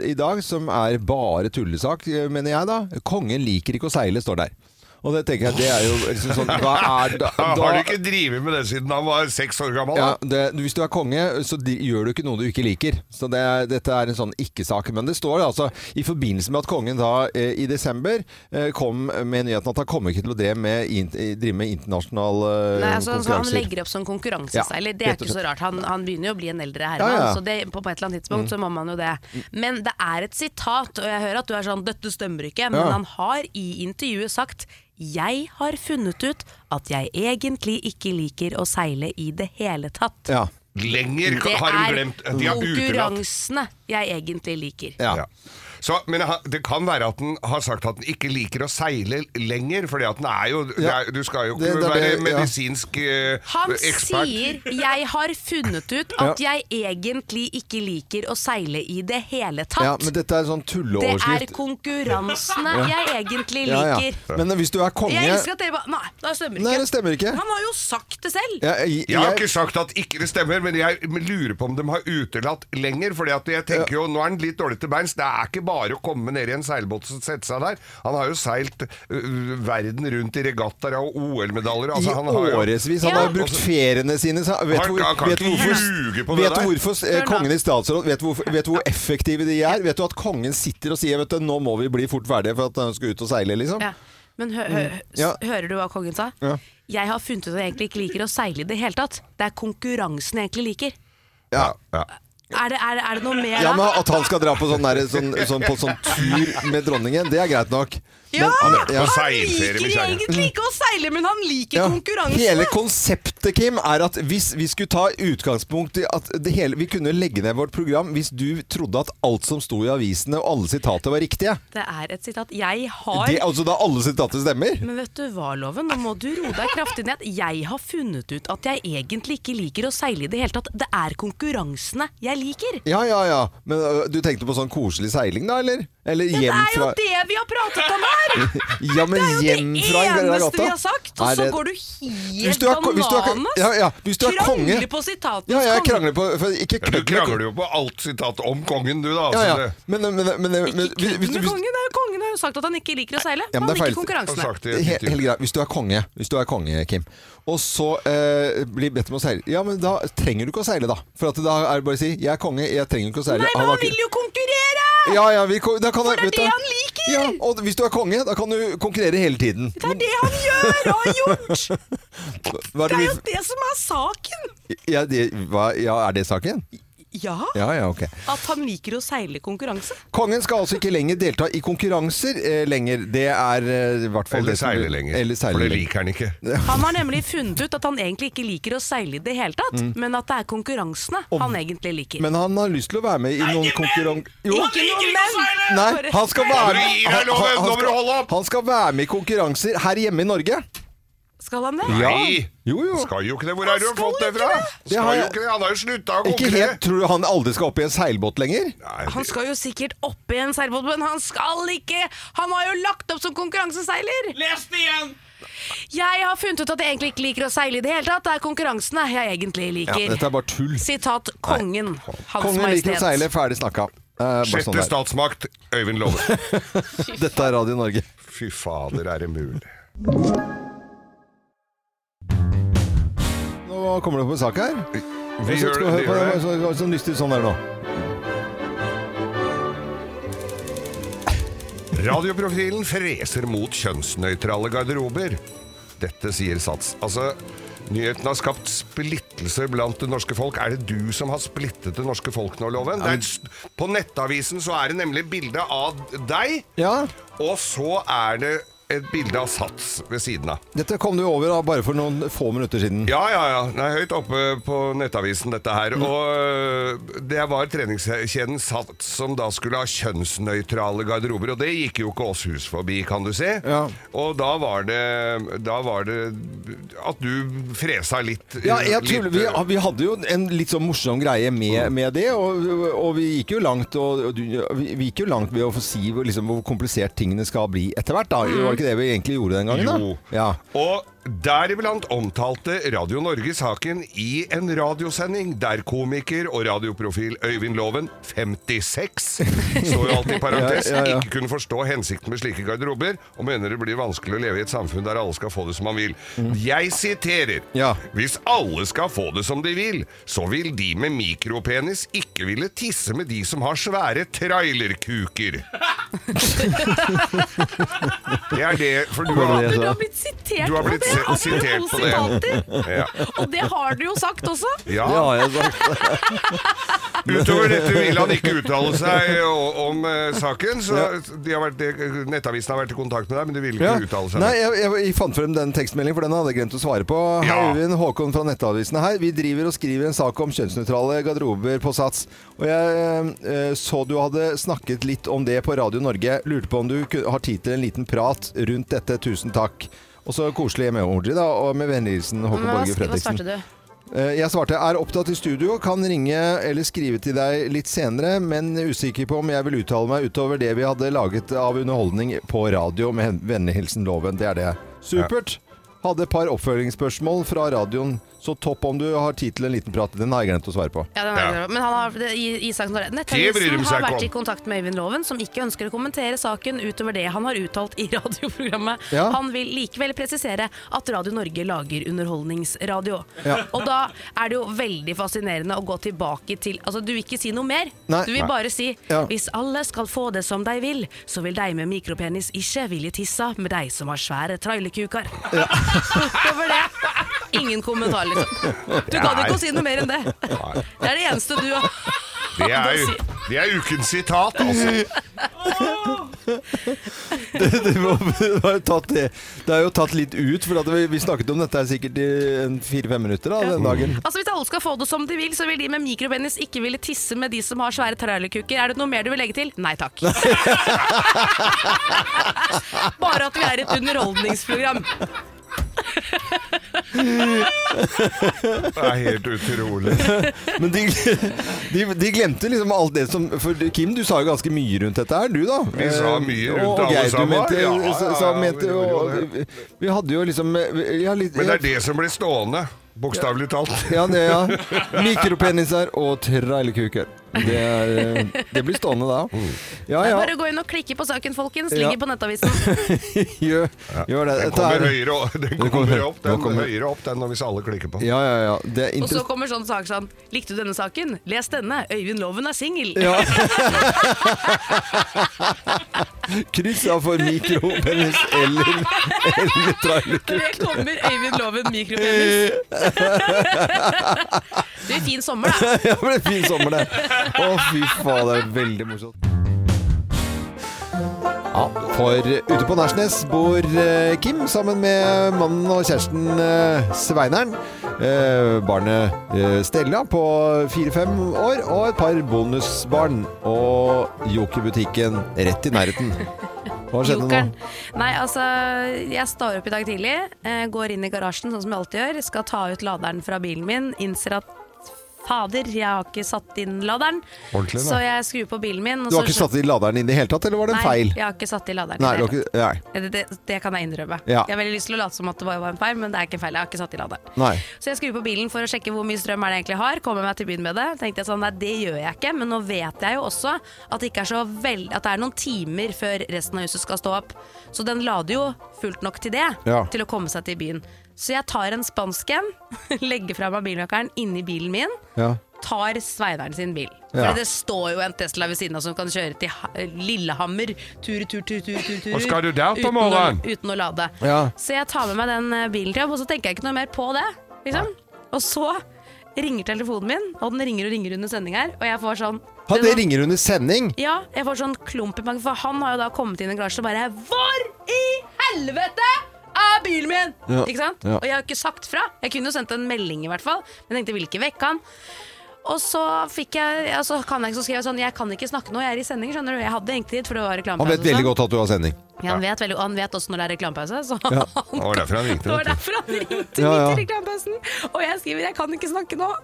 A: i dag som er bare tullesak, eh, mener jeg da. Kongen liker ikke å seile, står der. Og det tenker jeg, det er jo liksom sånn Hva er da,
B: Ja, <laughs> Har du
A: da
B: ikke drevet med det siden han var seks år gammel?
A: ja,
B: Da?
A: det, Hvis du er konge, så de, gjør du ikke noe du ikke liker. Så det, er- dette er en sånn ikke-sak. Men det står altså i forbindelse med at kongen da eh, i desember eh, kom med nyheten at han kommer ikke til å drive med, in, eh, drive med internasjonale eh,
H: Nei, altså, han
A: konkurranser.
H: legger opp som konkurranseseiler.
A: Ja,
H: det er
A: rett og
H: ikke så
A: slett.
H: rart. Han, han begynner jo å bli en eldre
A: Ja,
H: herremann,
A: ja. Mm.
H: så det, på, på et eller annet tidspunkt så må man jo det. Men det er et sitat, og jeg hører at du er sånn 'dette stemmer ikke', men
A: Ja.
H: han har i intervjuet sagt 'jeg har funnet ut at jeg egentlig ikke liker å seile i det hele tatt'.
A: Ja.
B: Lenger
H: Det
B: har hun
H: er
B: glemt. De har utelatt.
H: konkurransene jeg egentlig liker.
A: Ja.
B: Ja. Så, men ha- det kan være at han har sagt at han ikke liker å seile lenger, fordi at han er jo det
A: Ja.
B: er, Du skal jo
A: Det-
B: ikke
A: det er
B: være
A: det- ja.
B: medisinsk eh,
H: Han
B: ekspert.
H: sier 'jeg har funnet ut at jeg egentlig ikke liker å seile i det hele tatt'.
A: ja, men dette er sånn
H: Det er
A: tulleoverskrift.
H: konkurransene jeg egentlig
A: Ja, ja.
H: liker.
A: Men hvis du er konge
H: Jeg elsker at dere bare Nei, det stemmer
A: Nei,
H: ikke.
A: det stemmer ikke.
H: Han har jo sagt det selv.
A: Jeg, jeg,
B: Jeg har ikke sagt at ikke det stemmer, men jeg lurer på om de har utelatt lenger. Fordi at jeg tenker jo, nå er han litt dårlig til beins. Det er ikke bare å komme ned i en seilbåt og sette seg der. Han har jo seilt øh, verden rundt i regattaer og OL-medaljer.
A: i
B: Altså, han har jo
A: årevis. Han har jo brukt feriene sine så, vet,
B: Han-
A: du hvor,
B: han kan
A: vet, du
B: ikke
A: hvorfor,
B: ljuge på det
A: vet du
B: der.
A: hvorfor eh, kongen i statsråd vet du, hvor, vet du hvor effektive de er? Vet du at kongen sitter og sier vet du, 'nå må vi bli fort ferdige for at han skal ut og seile', liksom?
H: Ja. Men hø hø s-
A: Mm. Ja.
H: hører du hva kongen sa?
A: Ja.
H: Jeg har funnet ut at jeg egentlig ikke liker å seile i det hele tatt. Det er konkurransen jeg egentlig liker.
A: Ja.
B: ja.
H: Er det, er, det- er det noe mer da?
A: Ja, men At han skal dra på sånn, der, sånn, sånn, på sånn tur med dronningen, det er greit nok. Men-
H: Ja,
A: ja.
H: Han
B: seilferie
H: liker
B: med kjerringa.
H: egentlig ikke å seile, men han liker
A: Ja,
H: konkurransen.
A: Hele konseptet, Kim, er at hvis vi skulle ta utgangspunkt i at det hele, vi kunne legge ned vårt program hvis du trodde at alt som sto i avisene og alle sitater var riktige.
H: Det er et sitat. Jeg har
A: Det, altså da alle sitater stemmer?
H: Men vet du hva, Loven? Nå må du roe deg kraftig ned. Jeg har funnet ut at jeg egentlig ikke liker å seile i det hele tatt. Det er konkurransene jeg liker.
A: øh, Ja, ja, ja. Men ø, du tenkte på sånn koselig seiling da, eller? Eller
C: Det
A: hjem
C: er jo
A: fra
C: det vi har pratet om her!
A: <laughs> Ja, men
C: Det
A: hjem fra en grei
C: eneste vi
A: gata.
C: har sagt,
A: Nei,
C: og så
A: det-
C: går du
A: Hvis
C: helt
A: du er ko- hvis du er ko-
C: bananas.
A: ja, ja, hvis du er konge
C: Krangler på sitatenes
A: Ja, jeg
C: konge.
A: krangler på for ikke
B: Ja, du
A: kødd med-
B: krangler jo på alt sitat om kongen, du, da.
A: Ja,
B: Altså,
A: ja.
B: det-
A: Men, men, men, men hvis-
C: Ikke
A: hvis-
C: kødd med
A: hvis-
C: kongen. Det er jo kongen har jo sagt at han ikke liker å seile.
A: Ja, men
C: han
A: det er
C: liker
A: feil.
B: har
C: konkurransene.
B: sagt Altså, det i et
A: Helt,
B: intervju.
A: helt greit. Hvis du er konge, hvis du er konge, Kim, og så eh, blir bedt om å seile Ja, men da trenger du ikke å seile, da. For at da er det bare å si 'jeg er konge, jeg trenger ikke å seile'.
C: Nei,
A: har
C: men han
A: ikke-
C: vil jo konkurrere!
A: ja, ja, vi, ko- da kan
C: For det er
A: vet du
C: det
A: hva?
C: han liker!
A: Ja, og hvis du er konge, da kan du konkurrere hele tiden.
C: Det er det han gjør og
A: <laughs>
C: har gjort!
A: Hva er
C: Det
A: det
C: er jo
A: vi,
C: det som er saken.
A: ja, det, hva, ja, er det saken?
C: Ja,
A: Ja, ja, ok.
C: at han liker å seile konkurranse.
A: Kongen skal altså ikke lenger delta i konkurranser eh, lenger. Det er eh, i hvert fall
B: Eller
A: det som-
B: seile lenger.
A: Eller seile
B: for det
A: lenger.
B: liker han ikke.
H: Han har nemlig funnet ut at han egentlig ikke liker å seile i det hele tatt, men at det er konkurransene han egentlig liker.
A: Mm. Men han har lyst til å være med i noen konkurranser Jo,
E: Ikke noe men!
A: Nei, han skal være
B: Nå må du gi deg,
A: han-
B: Loven,
A: han- han
B: nå må du
A: skal-
B: holde opp!
A: Han skal være med i konkurranser her hjemme i Norge.
H: Skal han det?
B: Nei!
A: Jo, jo.
B: Skal jo ikke det. Hvor har du fått det fra?
A: Det har
B: Skal jo
A: jeg-
B: ikke det. Han har jo slutta å
A: Ikke
B: konkurrere.
A: helt. Tror du han aldri skal opp i en seilbåt lenger?
B: Nei,
H: Han skal jo sikkert opp i en seilbåt, men han skal ikke! Han var jo lagt opp som konkurranseseiler!
E: Les det igjen!
H: Jeg har funnet ut at jeg egentlig ikke liker å seile i det hele tatt. Det er konkurransene jeg egentlig
A: Ja,
H: liker.
A: dette er bare tull.
H: Sitat kongen. Hans
A: Kongen liker
H: Majestet.
A: å seile. Ferdig snakka. Eh, bare sånn
B: Sjette
A: der.
B: statsmakt, Øyvind Love.
A: Dette er Radio Norge.
B: Fy fader, er det mulig?
A: Nå kommer det opp en sak her.
B: Vi
A: Så
B: gjør
A: skal
B: det,
A: vi
B: vi
A: høre på det.
B: gjør det.
A: Så-
B: altså.
A: så- Sånn lystig sånn der nå.
B: Radioprofilen freser mot kjønnsnøytrale garderober. Dette sier Sats. Altså, nyheten har skapt splittelse blant det norske folk. Er det du som har splittet det norske folk nå, Loven? Det er, s- på Nettavisen så er det nemlig bilde av deg,
A: Ja,
B: og så er det et bilde av Sats ved siden av.
A: dette kom du over da, bare for noen få minutter siden.
B: Ja, ja, ja. Det er høyt oppe på nettavisen, dette her.
A: Mm.
B: Og øh, det var treningskjeden Sats som da skulle ha kjønnsnøytrale garderober, og det gikk jo ikke oss hus forbi, kan du si.
A: Ja.
B: Og da var det Da var det at du fresa litt.
A: Ja, jeg
B: litt, eh, Mm.
A: tror vi, vi hadde jo en litt sånn morsom greie med, med det, og, og vi gikk jo langt og, og du, vi vi gikk jo langt ved å få si hvor- liksom, hvor komplisert tingene skal bli etter hvert. da. Var det ikke det vi egentlig gjorde den gangen? da?
B: Mm. Jo.
A: Ja.
B: Og deriblant omtalte Radio Norge saken i en radiosending der komiker og radioprofil Øyvind Loven, 56,
A: <laughs>
B: står jo alltid i parentes,
A: Ja, ja, ja.
B: ikke kunne forstå hensikten med slike garderober, og mener det blir vanskelig å leve i et samfunn der alle skal få det som man vil. Jeg siterer
A: Mm. Ja.
B: Hvis alle skal få det som de vil, så vil de med mikropenis ikke ville tisse med de som har svære trailerkuker. Det er det, for du
A: Var
B: har
A: det det
H: Du
A: jeg
H: har
A: sa?
H: blitt sitert
B: Du har
H: på
B: blitt
H: det,
B: sit-
H: apropos
B: sitert på det.
H: sitater.
B: Ja.
H: Og det har du jo sagt også.
A: Det
B: ja.
A: har jeg sagt.
B: Utover dette vil han ikke uttale seg o- om eh, saken. Så de har vært, de, Nettavisen har vært i kontakt med deg, men de vil ikke
A: Ja.
B: uttale seg.
A: Nei, jeg, jeg, jeg fant frem den tekstmeldingen, for den hadde jeg glemt å svare på. Hei,
B: Ja.
A: Øyvind Håkon fra Nettavisene her. Vi driver og skriver en sak om kjønnsnøytrale garderober på Sats. Og jeg eh, så du hadde snakket litt om det på Radio Norge. Lurte på om du ku- har tid til en liten prat rundt dette. Tusen takk. Og så koselig emoji, da. Og med vennlig hilsen Håkon
C: Hva,
A: Borge
C: hva
A: Fredriksen.
C: svarte du?
A: Eh, Jeg svarte er opptatt i studio, kan ringe eller skrive til deg litt senere, men usikker på om jeg vil uttale meg utover det vi hadde laget av underholdning på radio med hen- vennlig hilsen Loven. Det er det. Supert. Hadde et par oppfølgingsspørsmål fra radioen, så topp om du har tid til en liten prat. Den har jeg glemt å svare på.
C: Ja, den er grei. Men han har, det, i, i saken står det
B: Det bryr de
C: Nettavisen
B: seg
C: har
B: ikke
C: vært
B: om.
C: i kontakt med Øyvind Loven, som ikke ønsker å kommentere saken utover det han har uttalt i <laughs> radioprogrammet.
A: Ja.
C: Han vil likevel presisere at Radio Norge lager underholdningsradio.
A: Ja.
C: Og da er det jo veldig fascinerende å gå tilbake til Altså, du vil ikke si noe mer.
A: Nei.
C: Du vil
A: Nei.
C: bare si
A: Ja.
C: hvis alle skal få det som de vil, så vil de med mikropenis ikke ville tisse med de som har svære trailerkuker. Utover <laughs> det ingen kommentar, liksom. Du kan jo ikke si noe mer enn det. Det er det eneste du har.
B: Det er, jo- det er ukens sitat,
A: <laughs>
B: altså.
A: det, var, <laughs> det, var jo tatt, det, det er jo tatt litt ut, for at vi, vi snakket om dette her sikkert i en fire-fem minutter da, den dagen.
C: Altså Hvis alle skal få det som de vil, så vil de med mikropenis ikke ville tisse med de som har svære trailerkuker. Er det noe mer du vil legge til? Nei
A: <laughs>
C: takk. Bare at vi er et underholdningsprogram.
B: Det er helt utrolig.
A: Men de, de, de glemte liksom alt det som For Kim, du sa jo ganske mye rundt dette her, du da. Eh,
B: Vi sa mye rundt
A: og, og
B: alle
A: Geir, du
B: sammen.
A: mente,
B: Ja, ja, ja,
A: sa- sa-
B: vi
A: mente
B: gjorde jo
A: og, vi, vi hadde jo liksom ja, litt,
B: Men det er det som blir stående, bokstavelig talt.
A: Ja, det, ja. Mikropeniser og trailekuker. Det, er, eh, det blir stående da.
B: Mm.
A: Ja ja,
C: Bare gå inn og klikke på saken, folkens.
A: Ja.
C: Ligger på Nettavisen.
A: gjør, gjør det.
B: Den
A: Dette
B: kommer
A: er-
B: høyere opp, den
A: kommer-
B: kommer opp,
A: nå
B: den,
A: kommer-
B: høyere opp, den når hvis alle klikker på.
A: Ja, ja, ja. Det er <laughs>
C: Og så
A: interess-
C: kommer sånn sak sånn Likte du denne saken? Les denne. Øyvind Loven er singel. <laughs>
A: ja. Kryss av for mikropenis eller,
C: <laughs>
A: eller trailekuker.
C: Det kommer Øyvind Loven mikropenis. Det blir fin sommer, da.
A: <laughs> ja, det ble en fin sommer, det. Å, fy faen, det er veldig morsomt. Ja, for ute på Nærsnes bor eh, Kim sammen med mannen og kjæresten eh, Sveineren. Eh, barnet eh, Stella på fire-fem år og et par bonusbarn. Og jokerbutikken rett i nærheten. Hva skjedde
C: Jokeren.
A: nå?
C: Nei, altså, jeg står opp i dag tidlig, eh, går inn i garasjen sånn som jeg alltid gjør, skal ta ut laderen fra bilen min, innser at fader, jeg har ikke satt inn laderen.
B: Ordentlig, da.
C: Så jeg skrur på bilen min.
A: Du har ikke satt i laderen inn i det hele tatt, eller var det en feil?
C: Altså, Nei, jeg har ikke satt i laderen.
A: Nei,
C: i
A: du
C: det
A: har
C: hele
A: ikke, nei.
C: tatt. det, det, det kan jeg innrømme.
A: Ja.
C: Jeg har veldig lyst til å late som at det bare var en feil, men det er ikke en feil. Jeg har ikke satt i laderen.
A: Nei.
C: Så jeg skrur på bilen for å sjekke hvor mye strøm er det egentlig har. Kommer meg til byen med det. Tenkte jeg sånn, nei, det gjør jeg ikke. Men nå vet jeg jo også at det, ikke er så vel, at det er noen timer før resten av huset skal stå opp. Så den lader jo fullt nok til det,
A: Ja.
C: til å komme seg til byen. Så jeg tar en spansk en, <laughs> legger fra meg bilnøkkelen inni bilen min,
A: Ja.
C: tar Sveinaren sin bil.
A: Ja.
C: For det står jo en Tesla ved siden av som kan kjøre til Ha- Lillehammer. Tur, tur, tur, tur, tur, tur
B: Og skal du der på
C: uten å-
B: morgenen?
C: Uten å lade.
A: Ja.
C: Så jeg tar med meg den eh, bilen til jobb, og så tenker jeg ikke noe mer på det. Liksom. Og så ringer telefonen min, og den ringer og ringer under sending her, og jeg får sånn
A: Ha,
C: den-
A: det ringer under sending!
C: ja, jeg får sånn klump i magen, for han har jo da kommet inn i garasjen og bare Hvor i helvete er bilen min?!
A: Ja,
C: Ikke sant?
A: ja.
C: Og jeg har ikke sagt fra. Jeg kunne jo sendt en melding, i hvert fall. Men jeg tenkte, vil ikke vekke han. Og så fikk jeg ja, så kan jeg ikke så skrev jeg sånn Jeg kan ikke snakke nå, jeg er i sending, skjønner du. Jeg hadde egentlig tid, for det var reklamepause.
A: Han vet
C: og
A: veldig
C: sånn.
A: godt at du har sending.
C: Ja, han, vet veldig, og han vet også når det er reklamepause, så
A: Ja.
B: Det var derfor han ringte,
C: Det var
B: vet du.
C: derfor han ringte
A: Ja, ja.
C: midt i reklamepausen. Og jeg skriver 'jeg kan ikke snakke nå'.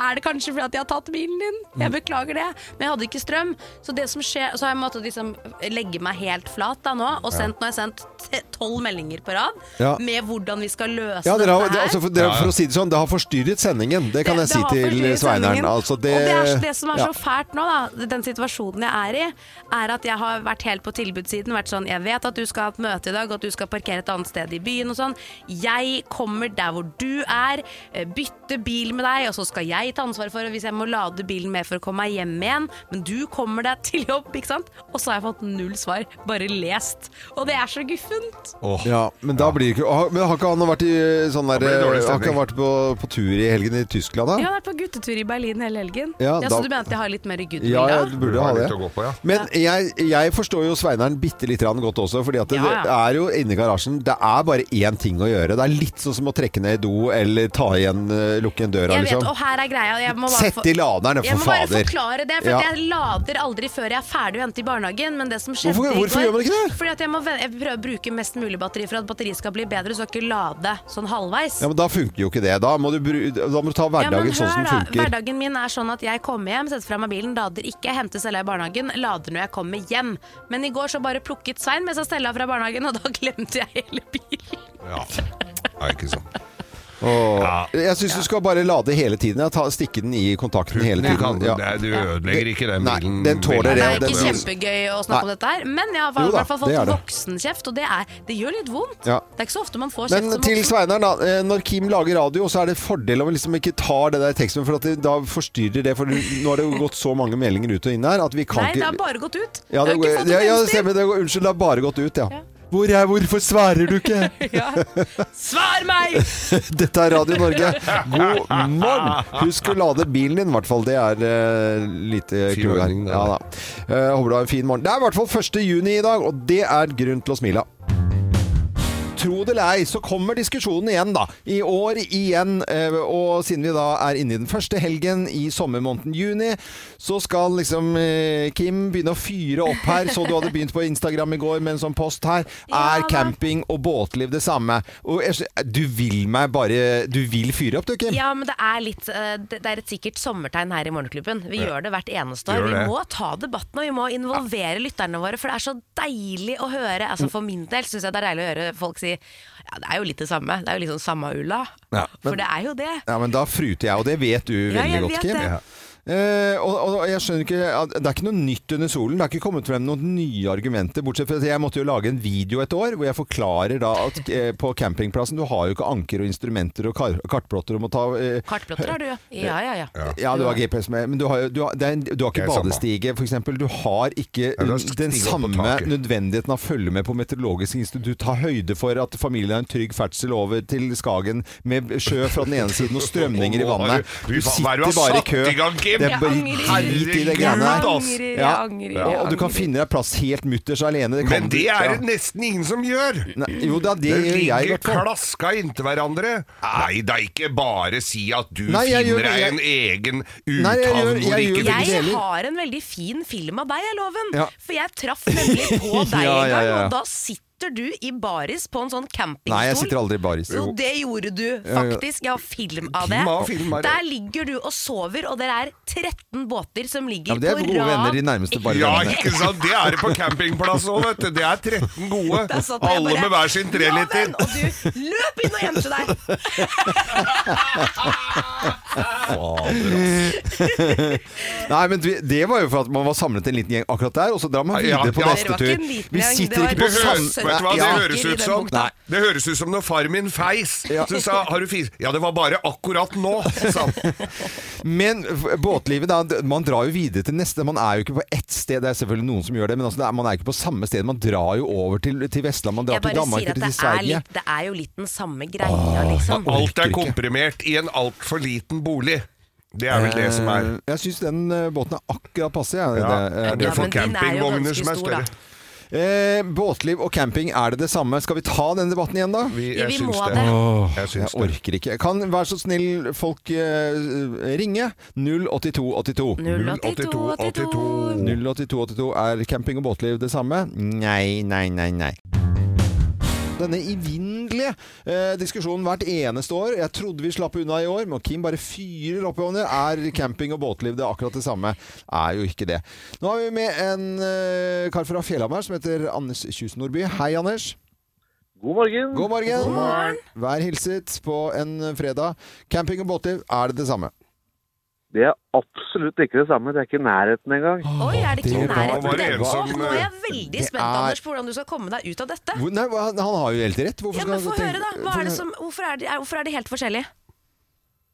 C: Er det kanskje fordi at jeg har tatt bilen din?
A: Mm.
C: Jeg beklager det, men jeg hadde ikke strøm. Så det som skjer, så har jeg måttet liksom legge meg helt flat da nå, og sendt, nå har jeg sendt t- tolv meldinger på rad
A: Ja.
C: med hvordan vi skal løse
A: Ja, dere har,
C: dette
A: det,
C: her.
A: altså, for, dere,
B: Ja, ja.
A: for å si det sånn, det har forstyrret sendingen. Det kan jeg si
C: har
A: til
C: forstyrret
A: Sveineren.
C: sendingen.
A: Altså, det,
C: og det, er, det som er
A: ja.
C: så fælt nå, da, den situasjonen jeg er i, er at jeg har vært helt på tilbudssiden. Vært sånn, jeg vet at du skal ha et møte i dag, og at du skal parkere et annet sted i byen og sånn. Jeg kommer der hvor du er, eh, bytter bil med deg, og så skal jeg ta ansvar for det hvis jeg må lade bilen med for å komme meg hjem igjen. Men du kommer deg til jobb, ikke sant? Og så har jeg fått null svar, bare lest. Og det er så guffent.
B: Åh,
A: Ja, men da blir det ikke har- Men har ikke han vært i sånn der,
B: Da blir det dårlig
A: Har ikke han
B: stemning.
A: vært på, på tur i helgen i Tyskland,
C: Jeg
A: da?
C: har vært på guttetur i Berlin hele helgen.
A: Ja,
C: Så
A: da-
C: du mente jeg har litt mer goodwill?
A: Ja,
C: da?
A: jeg burde
B: Du
A: ha
B: har
A: det.
B: litt å gå på, ja.
A: Men jeg, jeg forstår jo Sveineren bitte litt grann godt også, fordi at det,
C: Ja,
A: det er jo inni garasjen Det er bare én ting å gjøre. Det er litt sånn som å trekke ned i do eller ta igjen, eh, lukke igjen døra,
C: Jeg vet,
A: liksom.
C: og her er greia. Jeg må bare
A: Sett
C: få-
A: i laderen,
C: Jeg
A: for
C: må bare
A: fader.
C: forklare det, for
A: Ja.
C: at jeg lader aldri før jeg er ferdig å hente i barnehagen. Men det som skjedde
A: Hvorfor-
C: i
A: hvorfor
C: går-
A: gjør man ikke det?
C: Fordi at jeg må ven- jeg prøver å bruke mest mulig batteri for at batteriet skal bli bedre, så jeg ikke lade sånn halvveis.
A: Ja, men da funker jo ikke det. Da må du, bru- da må du ta
C: Ja, men
A: hverdagen sånn som
C: hør
A: den
C: da,
A: funker.
C: Hverdagen min er sånn at jeg kommer hjem, setter fra meg bilen, lader ikke, henter Stella i barnehagen, lader når jeg kommer hjem. Men i går så bare plukket Svein med seg Stella fra barnehagen, og da glemte jeg hele bilen.
B: Ja. Nei, ikke sånn. sant.
A: Og
B: Ja.
A: Jeg syns du skal bare lade hele tiden. Ja. Ta, stikke den i kontakten hele
B: Du,
A: tiden.
B: kan,
A: ja.
B: nei, du ødelegger ikke den
A: Nei,
B: bilen.
A: den tåler
B: bilen.
C: Det
A: det,
C: er
A: og det-
C: ikke kjempegøy å snakke om
A: Nei.
C: dette her, men jeg har i
A: Jo da,
C: hvert fall
A: det er
C: fått
A: det.
C: voksenkjeft, og det, er, det gjør litt vondt.
A: Ja.
C: Det er ikke så ofte man får kjeft
A: Men
C: som
A: til
C: voksen.
A: Sveinaren, da. eh, Når Kim lager radio, så er det fordel om vi liksom ikke tar det der teksten, for at det, da forstyrrer det. For du- nå har det jo gått så mange meldinger ut og inn her at vi kan
C: Nei, det
A: ikke
C: har bare gått ut.
A: ja, det,
C: jeg har
A: går-
C: ikke fått
A: ja,
C: et
A: ja, det
C: eneste. <laughs>
A: stemmer. Det går, unnskyld, det har bare gått ut, ja. Hvor er, hvorfor svarer du ikke? <laughs>
C: Svar meg!
A: Dette er Radio Norge. God morgen! Husk å lade bilen din, i hvert fall. Det er eh, litt eh,
B: Fin
A: clou her.
B: ordning, det
A: Ja,
B: der.
A: da. Eh, håper du har en fin morgen. Det er i hvert fall 1. juni i dag, og det er grunn til å smile av. tro det eller ei, så kommer diskusjonen igjen, da. I år igjen. eh, Og siden vi da er inne i den første helgen i sommermåneden juni, så skal liksom eh, Kim begynne å fyre opp her. Så du hadde begynt på Instagram i går med en sånn post her.
C: Ja,
A: Er
C: da.
A: camping og båtliv det samme? Og jeg, skj- du vil meg bare Du vil fyre opp, du, Kim?
C: Ja, men det er, litt, eh, det det er et sikkert sommertegn her i Morgenklubben. Vi gjør det hvert eneste år.
B: Gjør
C: Vi
B: det.
C: må ta debatten, og vi må involvere lytterne våre, for det er så deilig å høre.
A: Mm.
C: Altså, for min del syns jeg det er deilig å høre folk si ja, det er jo litt det samme. Det er jo litt sånn samme ulla.
A: Ja, men-
C: for det er jo det.
A: Ja, men da fruter jeg, og det vet du
C: Ja,
A: veldig
C: jeg
A: godt,
C: vet
A: Kim.
C: det.
A: Ja. Eh, og, og jeg skjønner ikke at Det er ikke noe nytt under solen. Det har ikke kommet frem noen nye argumenter. Bortsett fra at jeg måtte jo lage en video et år hvor jeg forklarer da at eh, på campingplassen Du har jo ikke anker og instrumenter og kar kartplotter og må ta eh,
C: Kartplotter har du, ja. Ja, ja, ja.
A: ja, du har GPS med, men du har, jo- du har, det er, en- du har ikke
B: Det er samme.
A: badestige, f.eks. Du har ikke
B: du har
A: uh,
B: stige
A: den
B: opp på
A: samme
B: taket.
A: nødvendigheten av å følge med på Meteorologisk institutt. Ta høyde for at familien har en trygg ferdsel over til Skagen med sjø fra den ene siden og strømninger i
B: <laughs> Å, nå har
A: vannet.
B: du-
A: Du
B: fy faen, hva er
A: sitter
B: det du har
A: bare i
B: satt
A: kø.
B: i gang, Kim?
A: Det er bare
I: Jeg angrer.
A: drit i det
B: Herregud,
A: greiene
B: ass.
A: her.
I: angrer, jeg
A: Ja.
I: angrer.
A: Og, og du kan finne deg plass helt mutters alene. Det kan
B: Men
A: du
B: det
A: ikke.
B: er det nesten ingen som gjør.
A: Nei, Jo da, det
B: Det
A: gjør jeg i
B: ligger
A: hvert fall.
B: klaska inntil hverandre. Nei, det er ikke bare si at du
A: Nei, jeg
B: finner
A: gjør-
B: deg
A: jeg-
B: en egen
A: Nei, jeg
B: uthavn
A: gjør-
B: hvor det
A: jeg gjør-
B: ikke
A: det
B: finnes
C: Jeg
A: gjelder.
C: har en veldig fin film av deg, jeg, Loven.
A: Ja.
C: For jeg
A: <laughs>
C: traff nemlig på deg
A: Ja,
C: en
A: ja,
C: gang,
A: ja.
C: og da sitter du i baris på en sånn campingstol.
A: Nei, jeg sitter aldri i baris.
C: Jo, det gjorde du faktisk. Jeg har film av det.
B: Kim har film av det.
C: Der ligger du og sover, og dere er 13 båter som
A: Ja,
C: ligger
A: men det er
C: på
A: gode venner,
C: rad.
A: de
C: <laughs>
A: nærmeste bare
B: Ja,
A: vennene.
B: ikke sant? Det er det på campingplass òg, vet du. Det er 13 gode.
C: Da satt jeg
B: Alle
C: bare,
B: med hver sin treliter.
C: «Loven!» Og du løp inn og gjemte
A: <laughs>
C: deg.
A: Nei, men vi- det var jo for at man var samlet en liten gjeng akkurat der, og så drar man
B: Ja,
A: videre på
B: ja.
A: neste
C: Dere var ikke
A: tur.
C: en liten
A: Vi
C: gjeng,
A: sitter
C: det var
A: ikke
B: Det,
A: på
C: et
B: hø
A: sam...
C: søtt-
B: vet du hva? det
A: Ja.
B: høres ut som
A: Nei.
B: Det høres ut som når far min feis.
A: Ja.
B: Så sa har du fis? Ja, det var bare akkurat nå, sa
A: <laughs>
B: han.
A: Men f- båtlivet, da, d- man drar jo videre til neste. Man er jo ikke på ett sted. Det er selvfølgelig noen som gjør det, men altså, det er, man er ikke på samme sted. Man drar jo over til, til Vestland, man drar
C: Jeg
A: til
C: bare
A: Danmark,
C: sier at
A: til
C: det er,
A: Sverige.
C: litt, det er jo litt den samme greia, liksom.
B: Alt
A: Orker
B: er
A: ikke.
B: komprimert i en altfor liten bolig. Det er vel det som er.
A: Eh, Jeg syns den eh, båten er akkurat passe. jeg.
B: Ja,
A: Det- eh,
B: det er
C: Ja,
B: for
C: men din er jo
B: campingvogner
C: ganske
B: som er
C: stor, da.
B: større.
A: Eh, båtliv og camping, er det det samme? Skal vi ta denne debatten igjen, da?
B: Vi,
C: Ja,
B: jeg
C: vi
B: syns
C: må
B: det.
C: det.
B: Jeg syns
A: Jeg
B: det.
A: orker ikke. Kan være så snill folk eh, ringe 08282.
C: 082 82.
A: 08282 er camping og båtliv det samme? Nei, nei, nei, nei. Denne evinnelige eh, diskusjonen hvert eneste år. Jeg trodde vi slapp unna i år, men Kim bare fyrer opp i hånda. Er camping og båtliv det akkurat det samme? Er jo ikke det. Nå har vi med en eh, kar fra Fjellhamar som heter Anders Kjus Nordby. Hei, Anders.
J: God morgen.
A: God morgen. Vær hilset på en fredag. Camping og båtliv, er det det samme?
J: Det er absolutt ikke det samme. Det er ikke nærheten engang.
C: Oi, er det ikke
A: Det
C: i
A: var-
C: nærheten av
B: det
C: den?
B: en som-
C: Å, Nå er jeg veldig
A: eh, Det
C: spent,
A: er-
C: Anders, på hvordan du skal komme deg ut av dette.
A: Hvor- Nei, han han har jo helt rett. Hvorfor
C: Ja, men
A: skal
C: Få
A: han
C: høre, da.
A: tenke-
C: Hva
A: få
C: er det
A: høre.
C: som, hvorfor, er de, er, hvorfor er de helt forskjellige?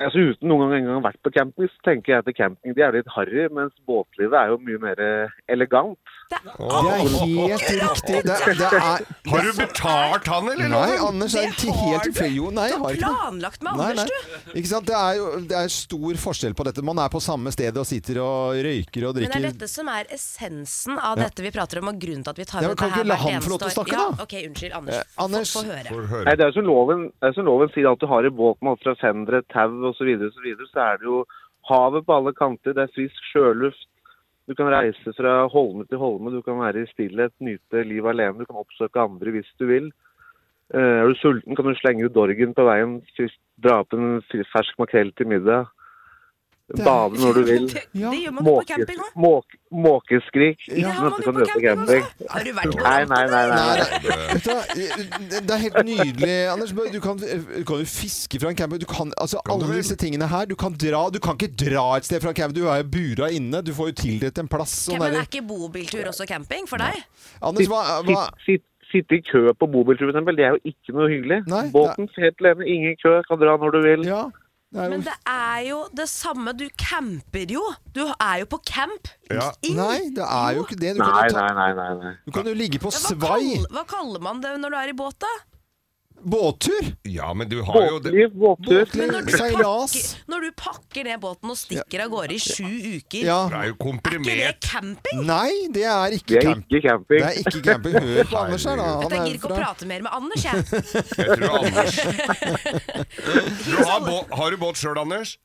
J: Altså, uten noen gang engang å ha vært på camping, så tenker jeg at camping de er litt harry, mens båtlivet er jo mye mer eh, elegant.
C: Det er
A: Det er helt riktig. Det, det er
B: Har du betalt han, eller?
A: Nei,
B: noe?
A: Anders er
C: Det
A: til
C: har
A: helt
C: du.
A: tilfeldig. Jo, nei,
C: Du
A: jeg
C: har
A: har ikke det.
C: planlagt
A: Nei,
C: med
A: nei.
C: Anders, du!
A: Ikke sant? Det er jo det er stor forskjell på dette. Man er på samme sted og sitter og røyker og
C: Men det
A: drikker.
C: er dette som er essensen av dette vi prater om, og grunnen til at vi tar
A: Ja,
C: med
A: men kan ikke
C: dette her
A: la
C: hvert
A: han få lov til å
C: eneste år.
A: snakke, da?
C: Ja, ok, unnskyld, Anders.
A: Eh, Anders.
C: Få, få høre.
B: Får
J: Nei,
B: høre.
J: det er jo som loven, det er som loven sier, at du har i båten alt fra fendere, tau osv., så, videre, og så, videre, så er det jo havet på alle kanter, det er frisk sjøluft. Du kan reise fra holme til holme, du kan være i stillhet, nyte liv alene, du kan oppsøke andre hvis du vil. Eh, Er du sulten, kan du slenge ut dorgen på veien, fys- dra opp en fri- fersk makrell til middag. Bade når du vil.
C: Det,
A: Ja.
C: det gjør man jo på
J: Måke,
C: camping òg.
J: måke, måkeskrik.
C: Det
J: Uten
C: har man
J: at du
C: jo
J: kan
C: på
J: møte på
C: camping
J: camping.
C: også. Har du
A: Sånn
C: vært på
J: Nei, nei, nei. nei.
A: Nei, nei. Vet du hva? Det er helt nydelig, Anders. Du kan, du kan jo fiske fra en camping. Du kan, altså,
B: Kan du
A: alle
B: vel?
A: disse tingene her. Du kan, dra, du kan ikke dra et sted fra en camping. Du er jo bura inne. Du får jo tildelt en plass. Sånn
C: Men
A: er
C: er
A: det.
C: ikke bobiltur også camping for deg?
A: Anders, hva,
J: Sitt-
A: hva
J: sitt- Sitte i kø på bobiltur, for eksempel, det er jo ikke noe hyggelig.
A: Nei,
J: Båten helt alene, ingen kø, kan dra når du vil.
A: Ja. Det er jo
C: Men det er jo det samme, du camper jo. Du er jo på camp.
B: Ja.
C: Inn.
A: Nei, det er jo ikke det. Du kan jo,
J: Nei,
A: ta,
J: nei, nei, nei. nei.
A: du kan jo ligge på
C: Ja, Hva,
A: svai.
C: kall, hva kaller man det når du er i båt, da?
A: Båttur!
B: Ja, men du har jo det.
J: Båtliv, båttur.
A: Båtliv,
C: du
A: seilas.
C: pakker, når du pakker ned båten og stikker av gårde i sju uker,
A: Ja.
B: Du er jo
C: er ikke det
B: komprimert.
C: camping?
A: Nei, det er
J: Det
A: ikke
J: er
A: camp.
J: ikke
A: Det
J: camping.
A: er ikke camping. Hør på Anders her, da.
C: Jeg
A: Han
C: gidder
A: er
C: ikke å
A: fra
C: prate mer med
A: <laughs>
C: Anders, jeg.
B: Jeg tror Anders du har, bå- har du båt sjøl, Anders?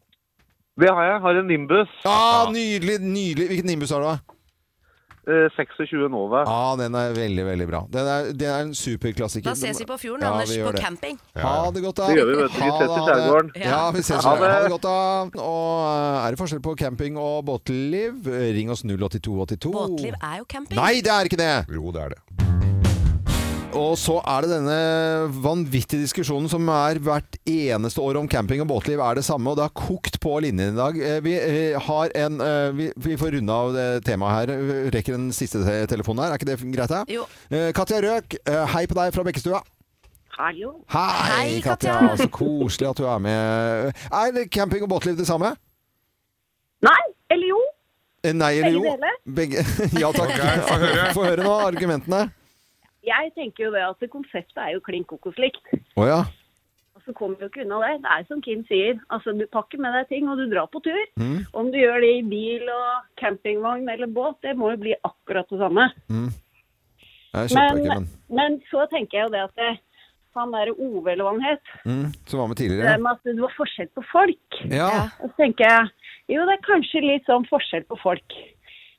J: Det har jeg. Har en Nimbus.
A: ah, Nydelig, nydelig. Hvilken nimbus har du? da?
J: Eh, 26 Nova.
A: Ja, den er veldig, veldig bra. Den er, den er en superklassiker.
C: Da ses vi på fjorden,
A: Ja,
C: Anders,
A: vi gjør
C: på
A: det.
C: camping.
A: Ha det godt, da.
J: Det gjør vi, vet du. Vi
A: Ha
J: ses i
A: det, ha det.
J: skjærgården.
A: Ja, vi ses.
J: Ha
A: Ha det.
J: det.
A: ha det godt, da. Og eh, er det forskjell på camping og båtliv? Ring oss 08282.
C: Båtliv er jo camping.
A: Oh. Nei, det er ikke det!
B: Jo, det er det.
A: Og så er det denne vanvittige diskusjonen som er hvert eneste år om camping og båtliv er det samme, og det har kokt på linjen i dag. Eh, Vi, eh, har en, eh, vi, vi får runde av det temaet her. Vi Rekker en siste te- telefon her, er ikke det greit? da?
C: Jo.
A: Eh, Katja Røk, eh, hei på deg fra Bekkestua.
K: Hallo.
A: Hei,
C: Hei,
A: Katja.
C: Katja.
A: Så koselig at du er med. Er det camping og båtliv det samme?
K: Nei, eller jo.
A: Eh, Nei eller
K: Begge
A: jo?
K: deler.
A: Begge <laughs> Ja takk.
B: Ok, få
A: <laughs>
B: høre.
A: Få høre nå argumentene.
K: Jeg tenker jo det at konseptet er jo klin kokos likt.
A: Å ja.
K: Og så kommer vi jo ikke unna det. Det er som Kim sier. Altså, du pakker med deg ting, og du drar på tur. Om du gjør det i bil og campingvogn eller båt, det må jo bli akkurat det samme.
A: Jeg kjøper
K: Men,
A: ikke, men
K: men så tenker jeg jo det at det, han derre Ove eller hva han het,
A: mm, Som var med
K: det
C: Ehm,
A: tidligere.
K: med at det var forskjell på folk.
A: Ja.
K: Og så tenker jeg jo, det er kanskje litt sånn forskjell på folk.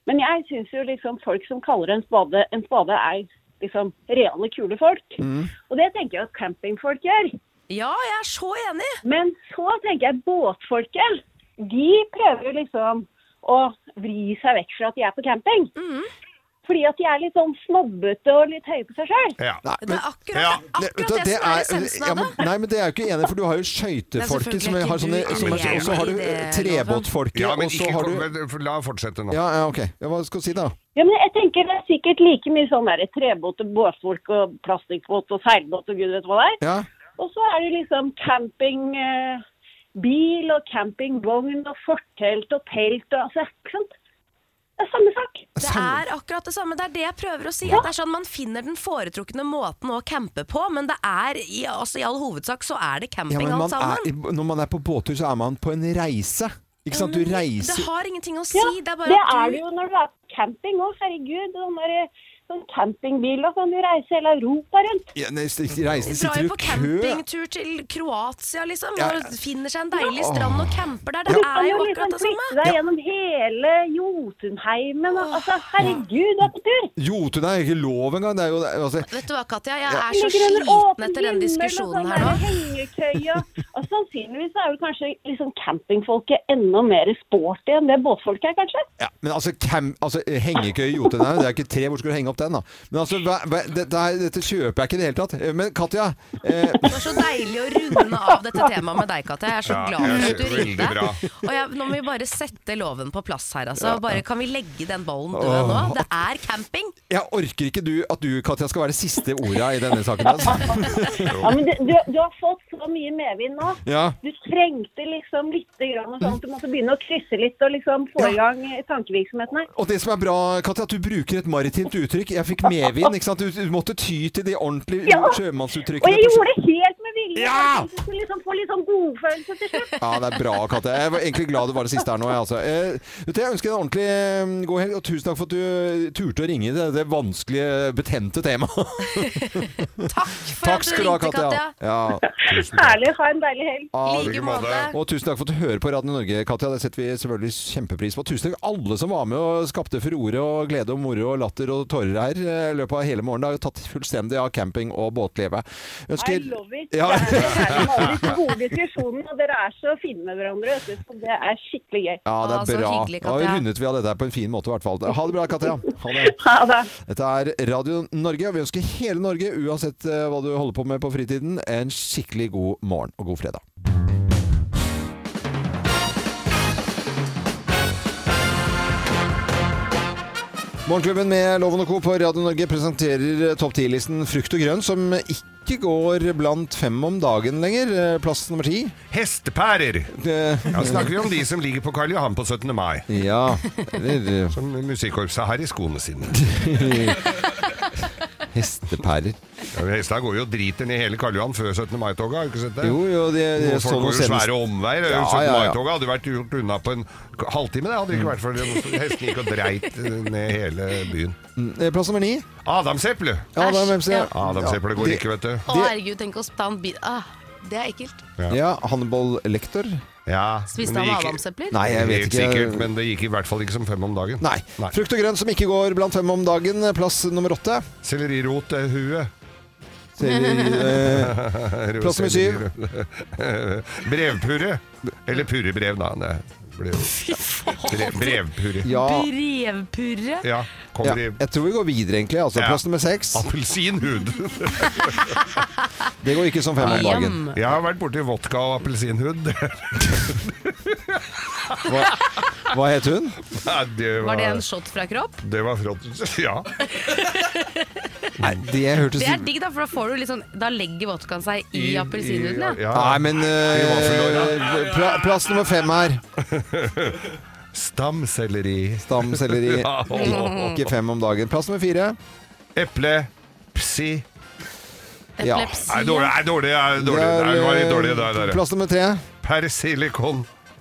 K: Men jeg syns jo liksom folk som kaller en spade en spade, er liksom reale, kule folk. Og det tenker jeg at campingfolk gjør.
C: Ja, jeg er så enig!
K: Men så tenker jeg båtfolket, de prøver jo liksom å vri seg vekk fra at de er på camping. Fordi at de er litt sånn snobbete og litt høye på seg sjøl.
B: Ja.
A: Nei,
C: Det er akkurat
B: Ja.
C: det,
A: vet
C: akkurat
A: du,
C: det, som er essensen
A: ja,
C: av det.
A: men, Nei, men det er jeg jo ikke enig i, for du har jo skøytefolket som
C: selvfølgelig
A: har
C: ikke
A: sånne
C: du
A: som er,
B: enig
A: Og så har
C: i
A: du eh,
C: det,
A: trebåtfolket,
B: Ja, men
A: og så
B: ikke
A: har
B: kom,
A: du
B: men, La fortsette nå.
A: ja, ja, ok. Ja, hva skal du si da?
K: Ja, men jeg tenker det er sikkert like mye sånn der trebåt og båtfolk og plastikkbåt og seilbåt og gud vet hva det er.
A: Ja,
K: Og så er det liksom campingbil bil og campingvogn og fortelt og telt og altså, ikke sant? Det er samme sak.
C: Det er akkurat det samme. Det er det jeg prøver å si. At det er sånn Man finner den foretrukne måten å campe på, men det er i, altså, i all hovedsak så er det
A: ja
C: camping
A: men man
C: alt
A: er,
C: sammen.
A: når man er på båttur, så er man på en reise. Ikke sant? Du reiser
C: Det har ingenting å si. det er bare
K: det
C: at
K: er
C: du-
K: det jo når du er på camping òg, herregud. Sånn, der, sånn campingbil og sånn, du reiser hele Europa rundt.
A: ja, nei, Reisen
C: drar
A: sitter
C: jo
A: du
C: på
A: i kø.
C: campingtur til Kroatia, liksom.
A: Ja, ja.
C: Og finner seg en deilig strand og camper der. Det
K: Du
C: er
K: kan
C: jo
K: jo
C: akkurat
K: liksom
C: det samme.
K: flytte deg gjennom hele Jotunheimen og altså, herregud, du er på tur!
A: Jotun er ikke lov engang. Det er jo altså,
C: Vet du hva, Katja. Jeg er så
K: Ligger under
C: sliten
K: åpen
C: etter den
K: himmel og
C: diskusjonen
K: sånn
C: her nå.
K: der Hengekøye.
C: <laughs>
K: Og sannsynligvis er vel kanskje liksom campingfolket enda mer sporty enn det båtfolket er, kanskje?
A: ja, men altså, cam, altså hengekøye i Jotun er jo- Det er ikke tre. Hvor skal du henge opp den, da? Men altså, hva, hva, det, det er, dette kjøper jeg ikke i det hele tatt. Men Katja eh,
C: Det var så deilig å runde av dette temaet med deg, Katja. Jeg er så
B: Ja,
C: glad for
B: jeg
C: at du
B: synes
C: ringte.
B: veldig bra.
C: Og jeg, nå må vi bare sette loven på plass her, altså. Bare kan vi legge den ballen død nå? Det er camping.
A: Jeg orker ikke du, at du, Katja, skal være det siste ordet i denne saken.
K: <laughs>
A: Altså.
K: Ja, men du, du, du har fått så mye medvind nå.
A: Ja.
K: Du trengte liksom litt grann og sånn. Du måtte begynne å krysse litt og liksom få i gang eh, tankevirksomheten her.
A: Og det som er bra, Katja, at du bruker et maritimt uttrykk. Jeg fikk medvind. ikke sant? Du, du måtte ty til de ordentlige
K: Ja. Og
A: sjømannsuttrykkene.
K: jeg gjorde det helt med vilje.
A: Ja!
K: Jeg tenkte Du skulle liksom få litt sånn godfølelse til slutt.
A: Ja, det er bra, Katja. Jeg var egentlig glad det var det siste her nå. Jeg, altså. eh, vet du, jeg ønsker deg en ordentlig eh, god helg, og tusen takk for at du turte å ringe det, det vanskelige, betente temaet.
C: Takk for
A: Takk
C: at du
A: skal du ha,
C: ringte,
A: Katja.
C: Katja. <laughs>
A: Ja.
K: Herlig. Ha en deilig helg.
C: I
A: Ja,
C: like
B: like
C: måte.
B: måte.
A: Og tusen takk for at du hører på Radio Norge, Katja. Det setter vi selvfølgelig kjempepris på. Tusen takk alle som var med og skapte furore og glede og moro og latter og tårer her eh, i løpet av hele morgenen. Det har jo tatt fullstendig av camping og båtlivet.
K: I
A: Ønsker
K: love it.
C: <laughs>
A: Ja.
K: Det er så herlig med alle disse gode diskusjonene, og dere er så fine med hverandre. vet du, Så det er skikkelig gøy.
A: ja, det
C: Å,
A: er
C: så
A: bra.
C: hyggelig,
A: Da
C: Katja.
A: rundet vi av dette her på en fin måte, i hvert fall. Ha det bra, Katja. Ha det.
K: Ha det.
A: Dette er Radio Norge, og vi ønsker hele Norge, uansett eh, hva du holder på med på fritiden, en skikkelig god morgen og god fredag. Morgenklubben med Loven og Co. på Radio Norge presenterer eh, topp 10-listen Frukt og grønn, som ikke går blant fem om dagen lenger. Eh, Plass nummer ti.
B: Hestepærer!
A: Eh,
B: Da snakker vi om de som ligger på Karl Johan på 17. mai.
A: Ja. Eller eh,
B: Som musikkorpset har i skoene sine.
A: Hestepærer.
B: Ja, men Hestene går jo og driter ned hele Karl Johan før 17. mai-toget, har du ikke sett det?
A: Jo, jo, det, det,
B: Noen folk
A: noe
B: går jo
A: senest-
B: svære omveier.
A: Ja,
B: 17.
A: ja, ja.
B: mai-toget hadde vært gjort unna på en halvtime, det hadde det ikke vært for hestene gikk og dreit eh, ned hele byen.
A: Mm, eh, Plass nummer ni.
B: Adamseple!
A: Adamseple
B: ja. Adamseple går ikke, vet du.
H: Å, herregud, tenk å spann bil ah, Det er ekkelt.
A: Ja, Hannibal Lektor.
B: Ja,
H: Spiste
B: men
H: han
B: det gikk-
H: adamsepler?
A: Nei, jeg vet
B: Helt
A: ikke.
B: Sikkert, men det gikk i hvert fall ikke som fem om dagen.
A: Nei. Frukt og grønt som ikke går blant fem om dagen. Plass nummer åtte.
B: Sellerirot eh, er huet.
A: Selleri- eh, plass nummer syv.
B: <laughs> Brevpurre. Eller purrebrev, da. Det
C: <laughs>
B: blir jo Brev- Brevpurre.
A: Ja.
H: Brevpurre?
B: Ja, kom
A: Ja,
B: brev.
A: jeg tror vi går videre, egentlig. Altså,
B: Ja.
A: Plass nummer seks.
B: Appelsinhud. <laughs>
A: Det går ikke som fem om dagen.
B: Jeg har vært borti vodka og appelsinhud. <laughs>
A: Hva, hva het hun?
B: Nei, det var,
C: Var det en shot fra kropp?
B: Det var frott. <laughs> Ja.
A: Nei, det hørtes
C: Det er digg, da, for da får du litt sånn Da legger vodkaen seg i, appelsinhuden.
B: ja,
C: Ja.
B: ja.
A: Nei, men eh,
B: I vaffelåra.
A: pla, Plass nummer fem her.
B: Stamselleri.
A: Stamselleri.
B: Ja.
A: Ikke fem om dagen. Plass nummer fire.
B: Eple. Psi.
A: Ja.
C: Epilepsi.
B: Nei, dårlig. Nei, dårlig, nei, dårlig.
A: Det er,
B: Nei, det var litt dårlig
A: eh,
B: der, der.
A: Plass nummer tre.
B: Persilicon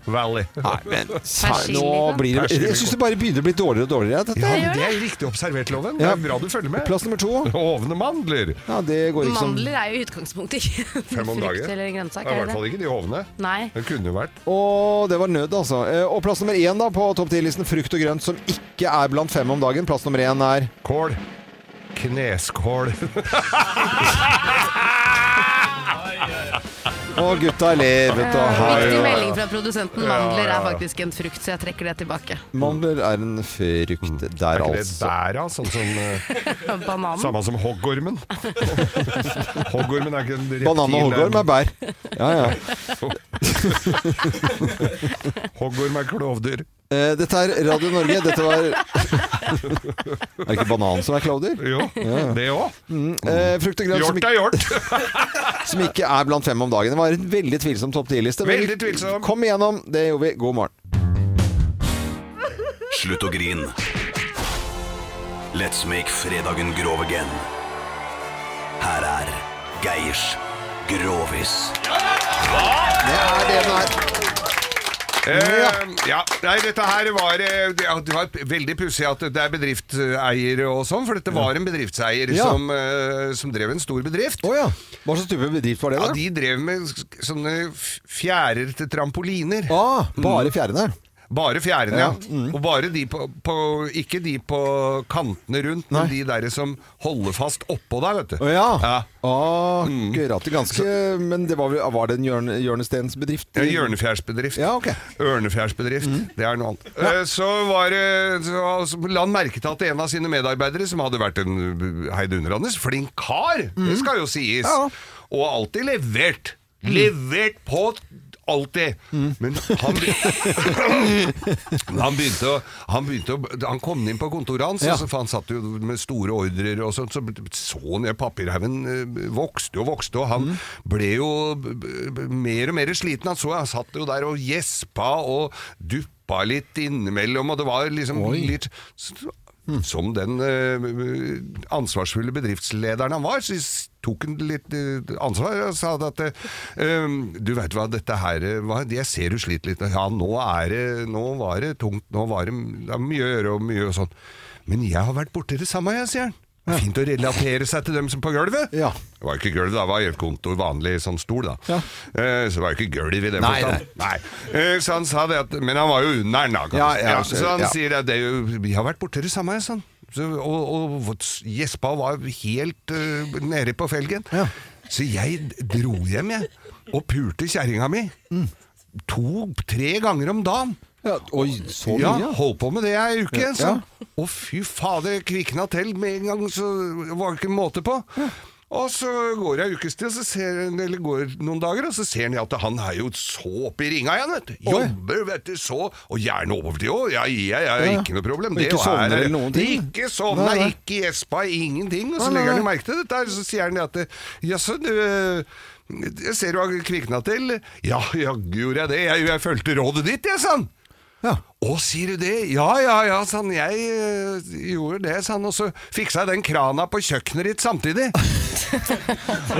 B: Valley.
A: Nei, men sa-
C: Persille,
A: nå
C: da.
A: blir det
B: Persille.
A: Jeg syns det bare begynner å bli dårligere og dårligere. Dette.
B: Ja, men det er riktig observert, Loven. Det
A: Ja.
B: er bra du følger med.
A: Plass nummer to.
B: <laughs> Hovne mandler.
A: Ja, det går ikke som
C: Mandler er jo i utgangspunktet ikke en
B: liksom- Fem om
C: frukt
B: dagen.
C: eller en
B: Ja,
C: grønnsak.
B: I
C: Er
B: hvert
C: det?
B: fall ikke de hovne.
C: det? Nei.
B: Det kunne jo vært.
A: Og det var nød, altså. Eh, Og plass nummer én da på topp 10-listen frukt og grønt som ikke er blant fem om dagen. Plass nummer én er
B: Kål. Kneskål.
A: Å, gutta ler, vet du. Hei.
C: Viktig melding fra produsenten. Mandler
B: ja,
C: er
B: ja.
C: faktisk en frukt, så jeg trekker det tilbake.
A: Mandler er en frukt der,
B: Er ikke det
A: altså.
B: bæra? Sånn som eh,
C: Bananen.
B: Samme som <laughs> hoggormen. hoggormen er ikke en reptil.
A: Banan og hoggorm er bær. Ja, ja.
B: Hoggorm er klovdyr.
A: Eh, Dette er Radio Norge. Dette var <laughs> Er det ikke banan som er klovdyr?
B: Jo, det òg.
A: Eh, frukt og grønt som
B: Hjort
A: ikke,
B: er hjort. <laughs>
A: som ikke er blant fem om dagen. Det var en veldig tvilsom topp 10-liste. men
B: Veldig tvilsom.
A: Kom igjennom. Det gjorde vi. God morgen.
L: Slutt å grin. Let's make fredagen grov again. Her er Geirs Grovis.
A: Det er det den er.
B: Eh, ja, nei, dette her var eh, Det ja, det var veldig pussig at det er bedriftseiere og sånn, for dette var en bedriftseier
A: Ja.
B: som, eh, som drev en stor bedrift.
A: Å ja. Hva slags type bedrift var det,
B: Ja,
A: da?
B: De drev med sk- sånne f- fjærer til trampoliner.
A: Ah, bare fjærene.
B: Bare fjærene, ja.
A: Mm.
B: Og bare de på, på Ikke de på kantene rundt, men de der som holder fast oppå deg, vet du.
A: Å ja. Ah, Mm.
B: Ja.
A: Akkurat. det Ganske Men det var, vel, var det en hjørne, hjørnestensbedrift?
B: En hjørnefjærsbedrift.
A: Mm. Ja, ok.
B: Ørnefjærsbedrift. Det er noe annet. Eh, Så var det så- så La han merke til at en av sine medarbeidere, som hadde vært en heidundrende flink kar, det skal jo sies,
A: Ja.
B: og alltid levert. Levert på alltid. Men han, han begynte å Han, begynte å, han kom inn på kontoret hans,
A: Ja.
B: og så, for han satt jo med store ordrer og sånt, så så han jo papirhaugen eh, vokste og vokste, og han ble jo b- b- mer og mer sliten. Han så han satt jo der og gjespa og duppa litt innimellom, og det var liksom litt
A: Mm.
B: som den eh, ansvarsfulle bedriftslederen han var, så s- tok han litt eh, ansvar og sa at eh, Du veit hva dette her eh, var? Jeg ser du sliter litt. Ja, nå, er det, nå var det tungt. Nå var det, det er mye å gjøre og mye og sånn. Men jeg har vært borti det samme, jeg, sier han. Det er Fint å relatere seg til dem som på gulvet.
A: Ja.
B: Det var jo ikke gulv, da. Det var jo et kontor, vanlig sånn stol, da.
A: Ja.
B: Eh, så det var jo ikke gulv i den
A: Nei,
B: forstand. Nei. Eh, så han sa det at Men han var jo under den, da. kan
A: Ja,
B: du si.
A: ja,
B: så han
A: ja.
B: sier sier at det, er jo- vi har vært borte det samme, jeg, sånn. Så, og, og Jespa var helt eh, nede på felgen.
A: Ja.
B: Så jeg dro hjem, jeg, og pulte kjerringa mi. To-tre ganger om dagen.
A: Ja, oi, så mye?
B: Ja,
A: Ja,
B: holdt på med det ei uke.
A: Ja.
B: Så. Å, fy fader, jeg kvikna til med en gang, så var det ikke måte på. Og så går jeg ukes til, så ser, eller går noen dager, og så ser han at han er jo så oppe i ringa igjen, vet du.
A: Oi.
B: Jobber, vet du, så Og gjerne overtid òg. Ja, ja, ja,
A: Ja.
B: ikke noe problem.
A: Og
B: Det
A: ikke
B: var-
A: sovner eller noen ting?
B: Ikke sovna,
A: Nei, nei.
B: ikke gjespa, ingenting. Og så
A: Nei, nei,
B: legger han
A: nei.
B: merke til dette, her, så sier han det at det- Jaså, du eh, jeg ser du har kvikna til. Ja, jaggu gjorde jeg det. Jeg, jeg fulgte rådet ditt, jeg, sa han. Å, sier du det? Ja, ja, ja, sa han. Jeg eh, gjorde det, sa han. Og så fiksa jeg den krana på kjøkkenet ditt
A: <laughs>
B: samtidig.
A: Eh,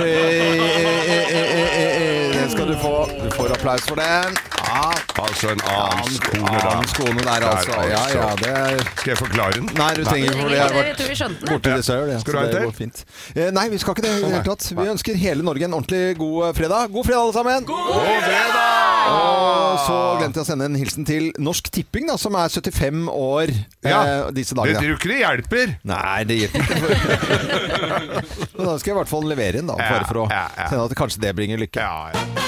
A: Den skal du få. Du får applaus for den. Ja.
B: Altså en annen skone, da.
A: annen skone der, altså. Ja, ja, det
B: Skal jeg forklare den?
A: Nei, du trenger ikke for det. Jeg har
C: Jeg tror vi skjønte
A: vært
C: det.
A: borti det sjøl.
B: Skal du ha en til?
A: Fint. Eh, Nei, vi skal ikke det i det hele tatt. Vi ønsker hele Norge en ordentlig god eh, fredag. God fredag, alle sammen! God fredag! Og så glemte jeg å sende en hilsen til Norsk Tipping, da, som er 75 år eh,
B: Ja.
A: disse
B: Det tror
A: dagene.
B: du ikke det hjelper?
A: Nei, det hjelper ikke. <laughs> Men da skal jeg i hvert fall levere inn, da. Bare for å
B: ja, ja.
A: sende at kanskje det bringer lykke.
B: Ja, ja.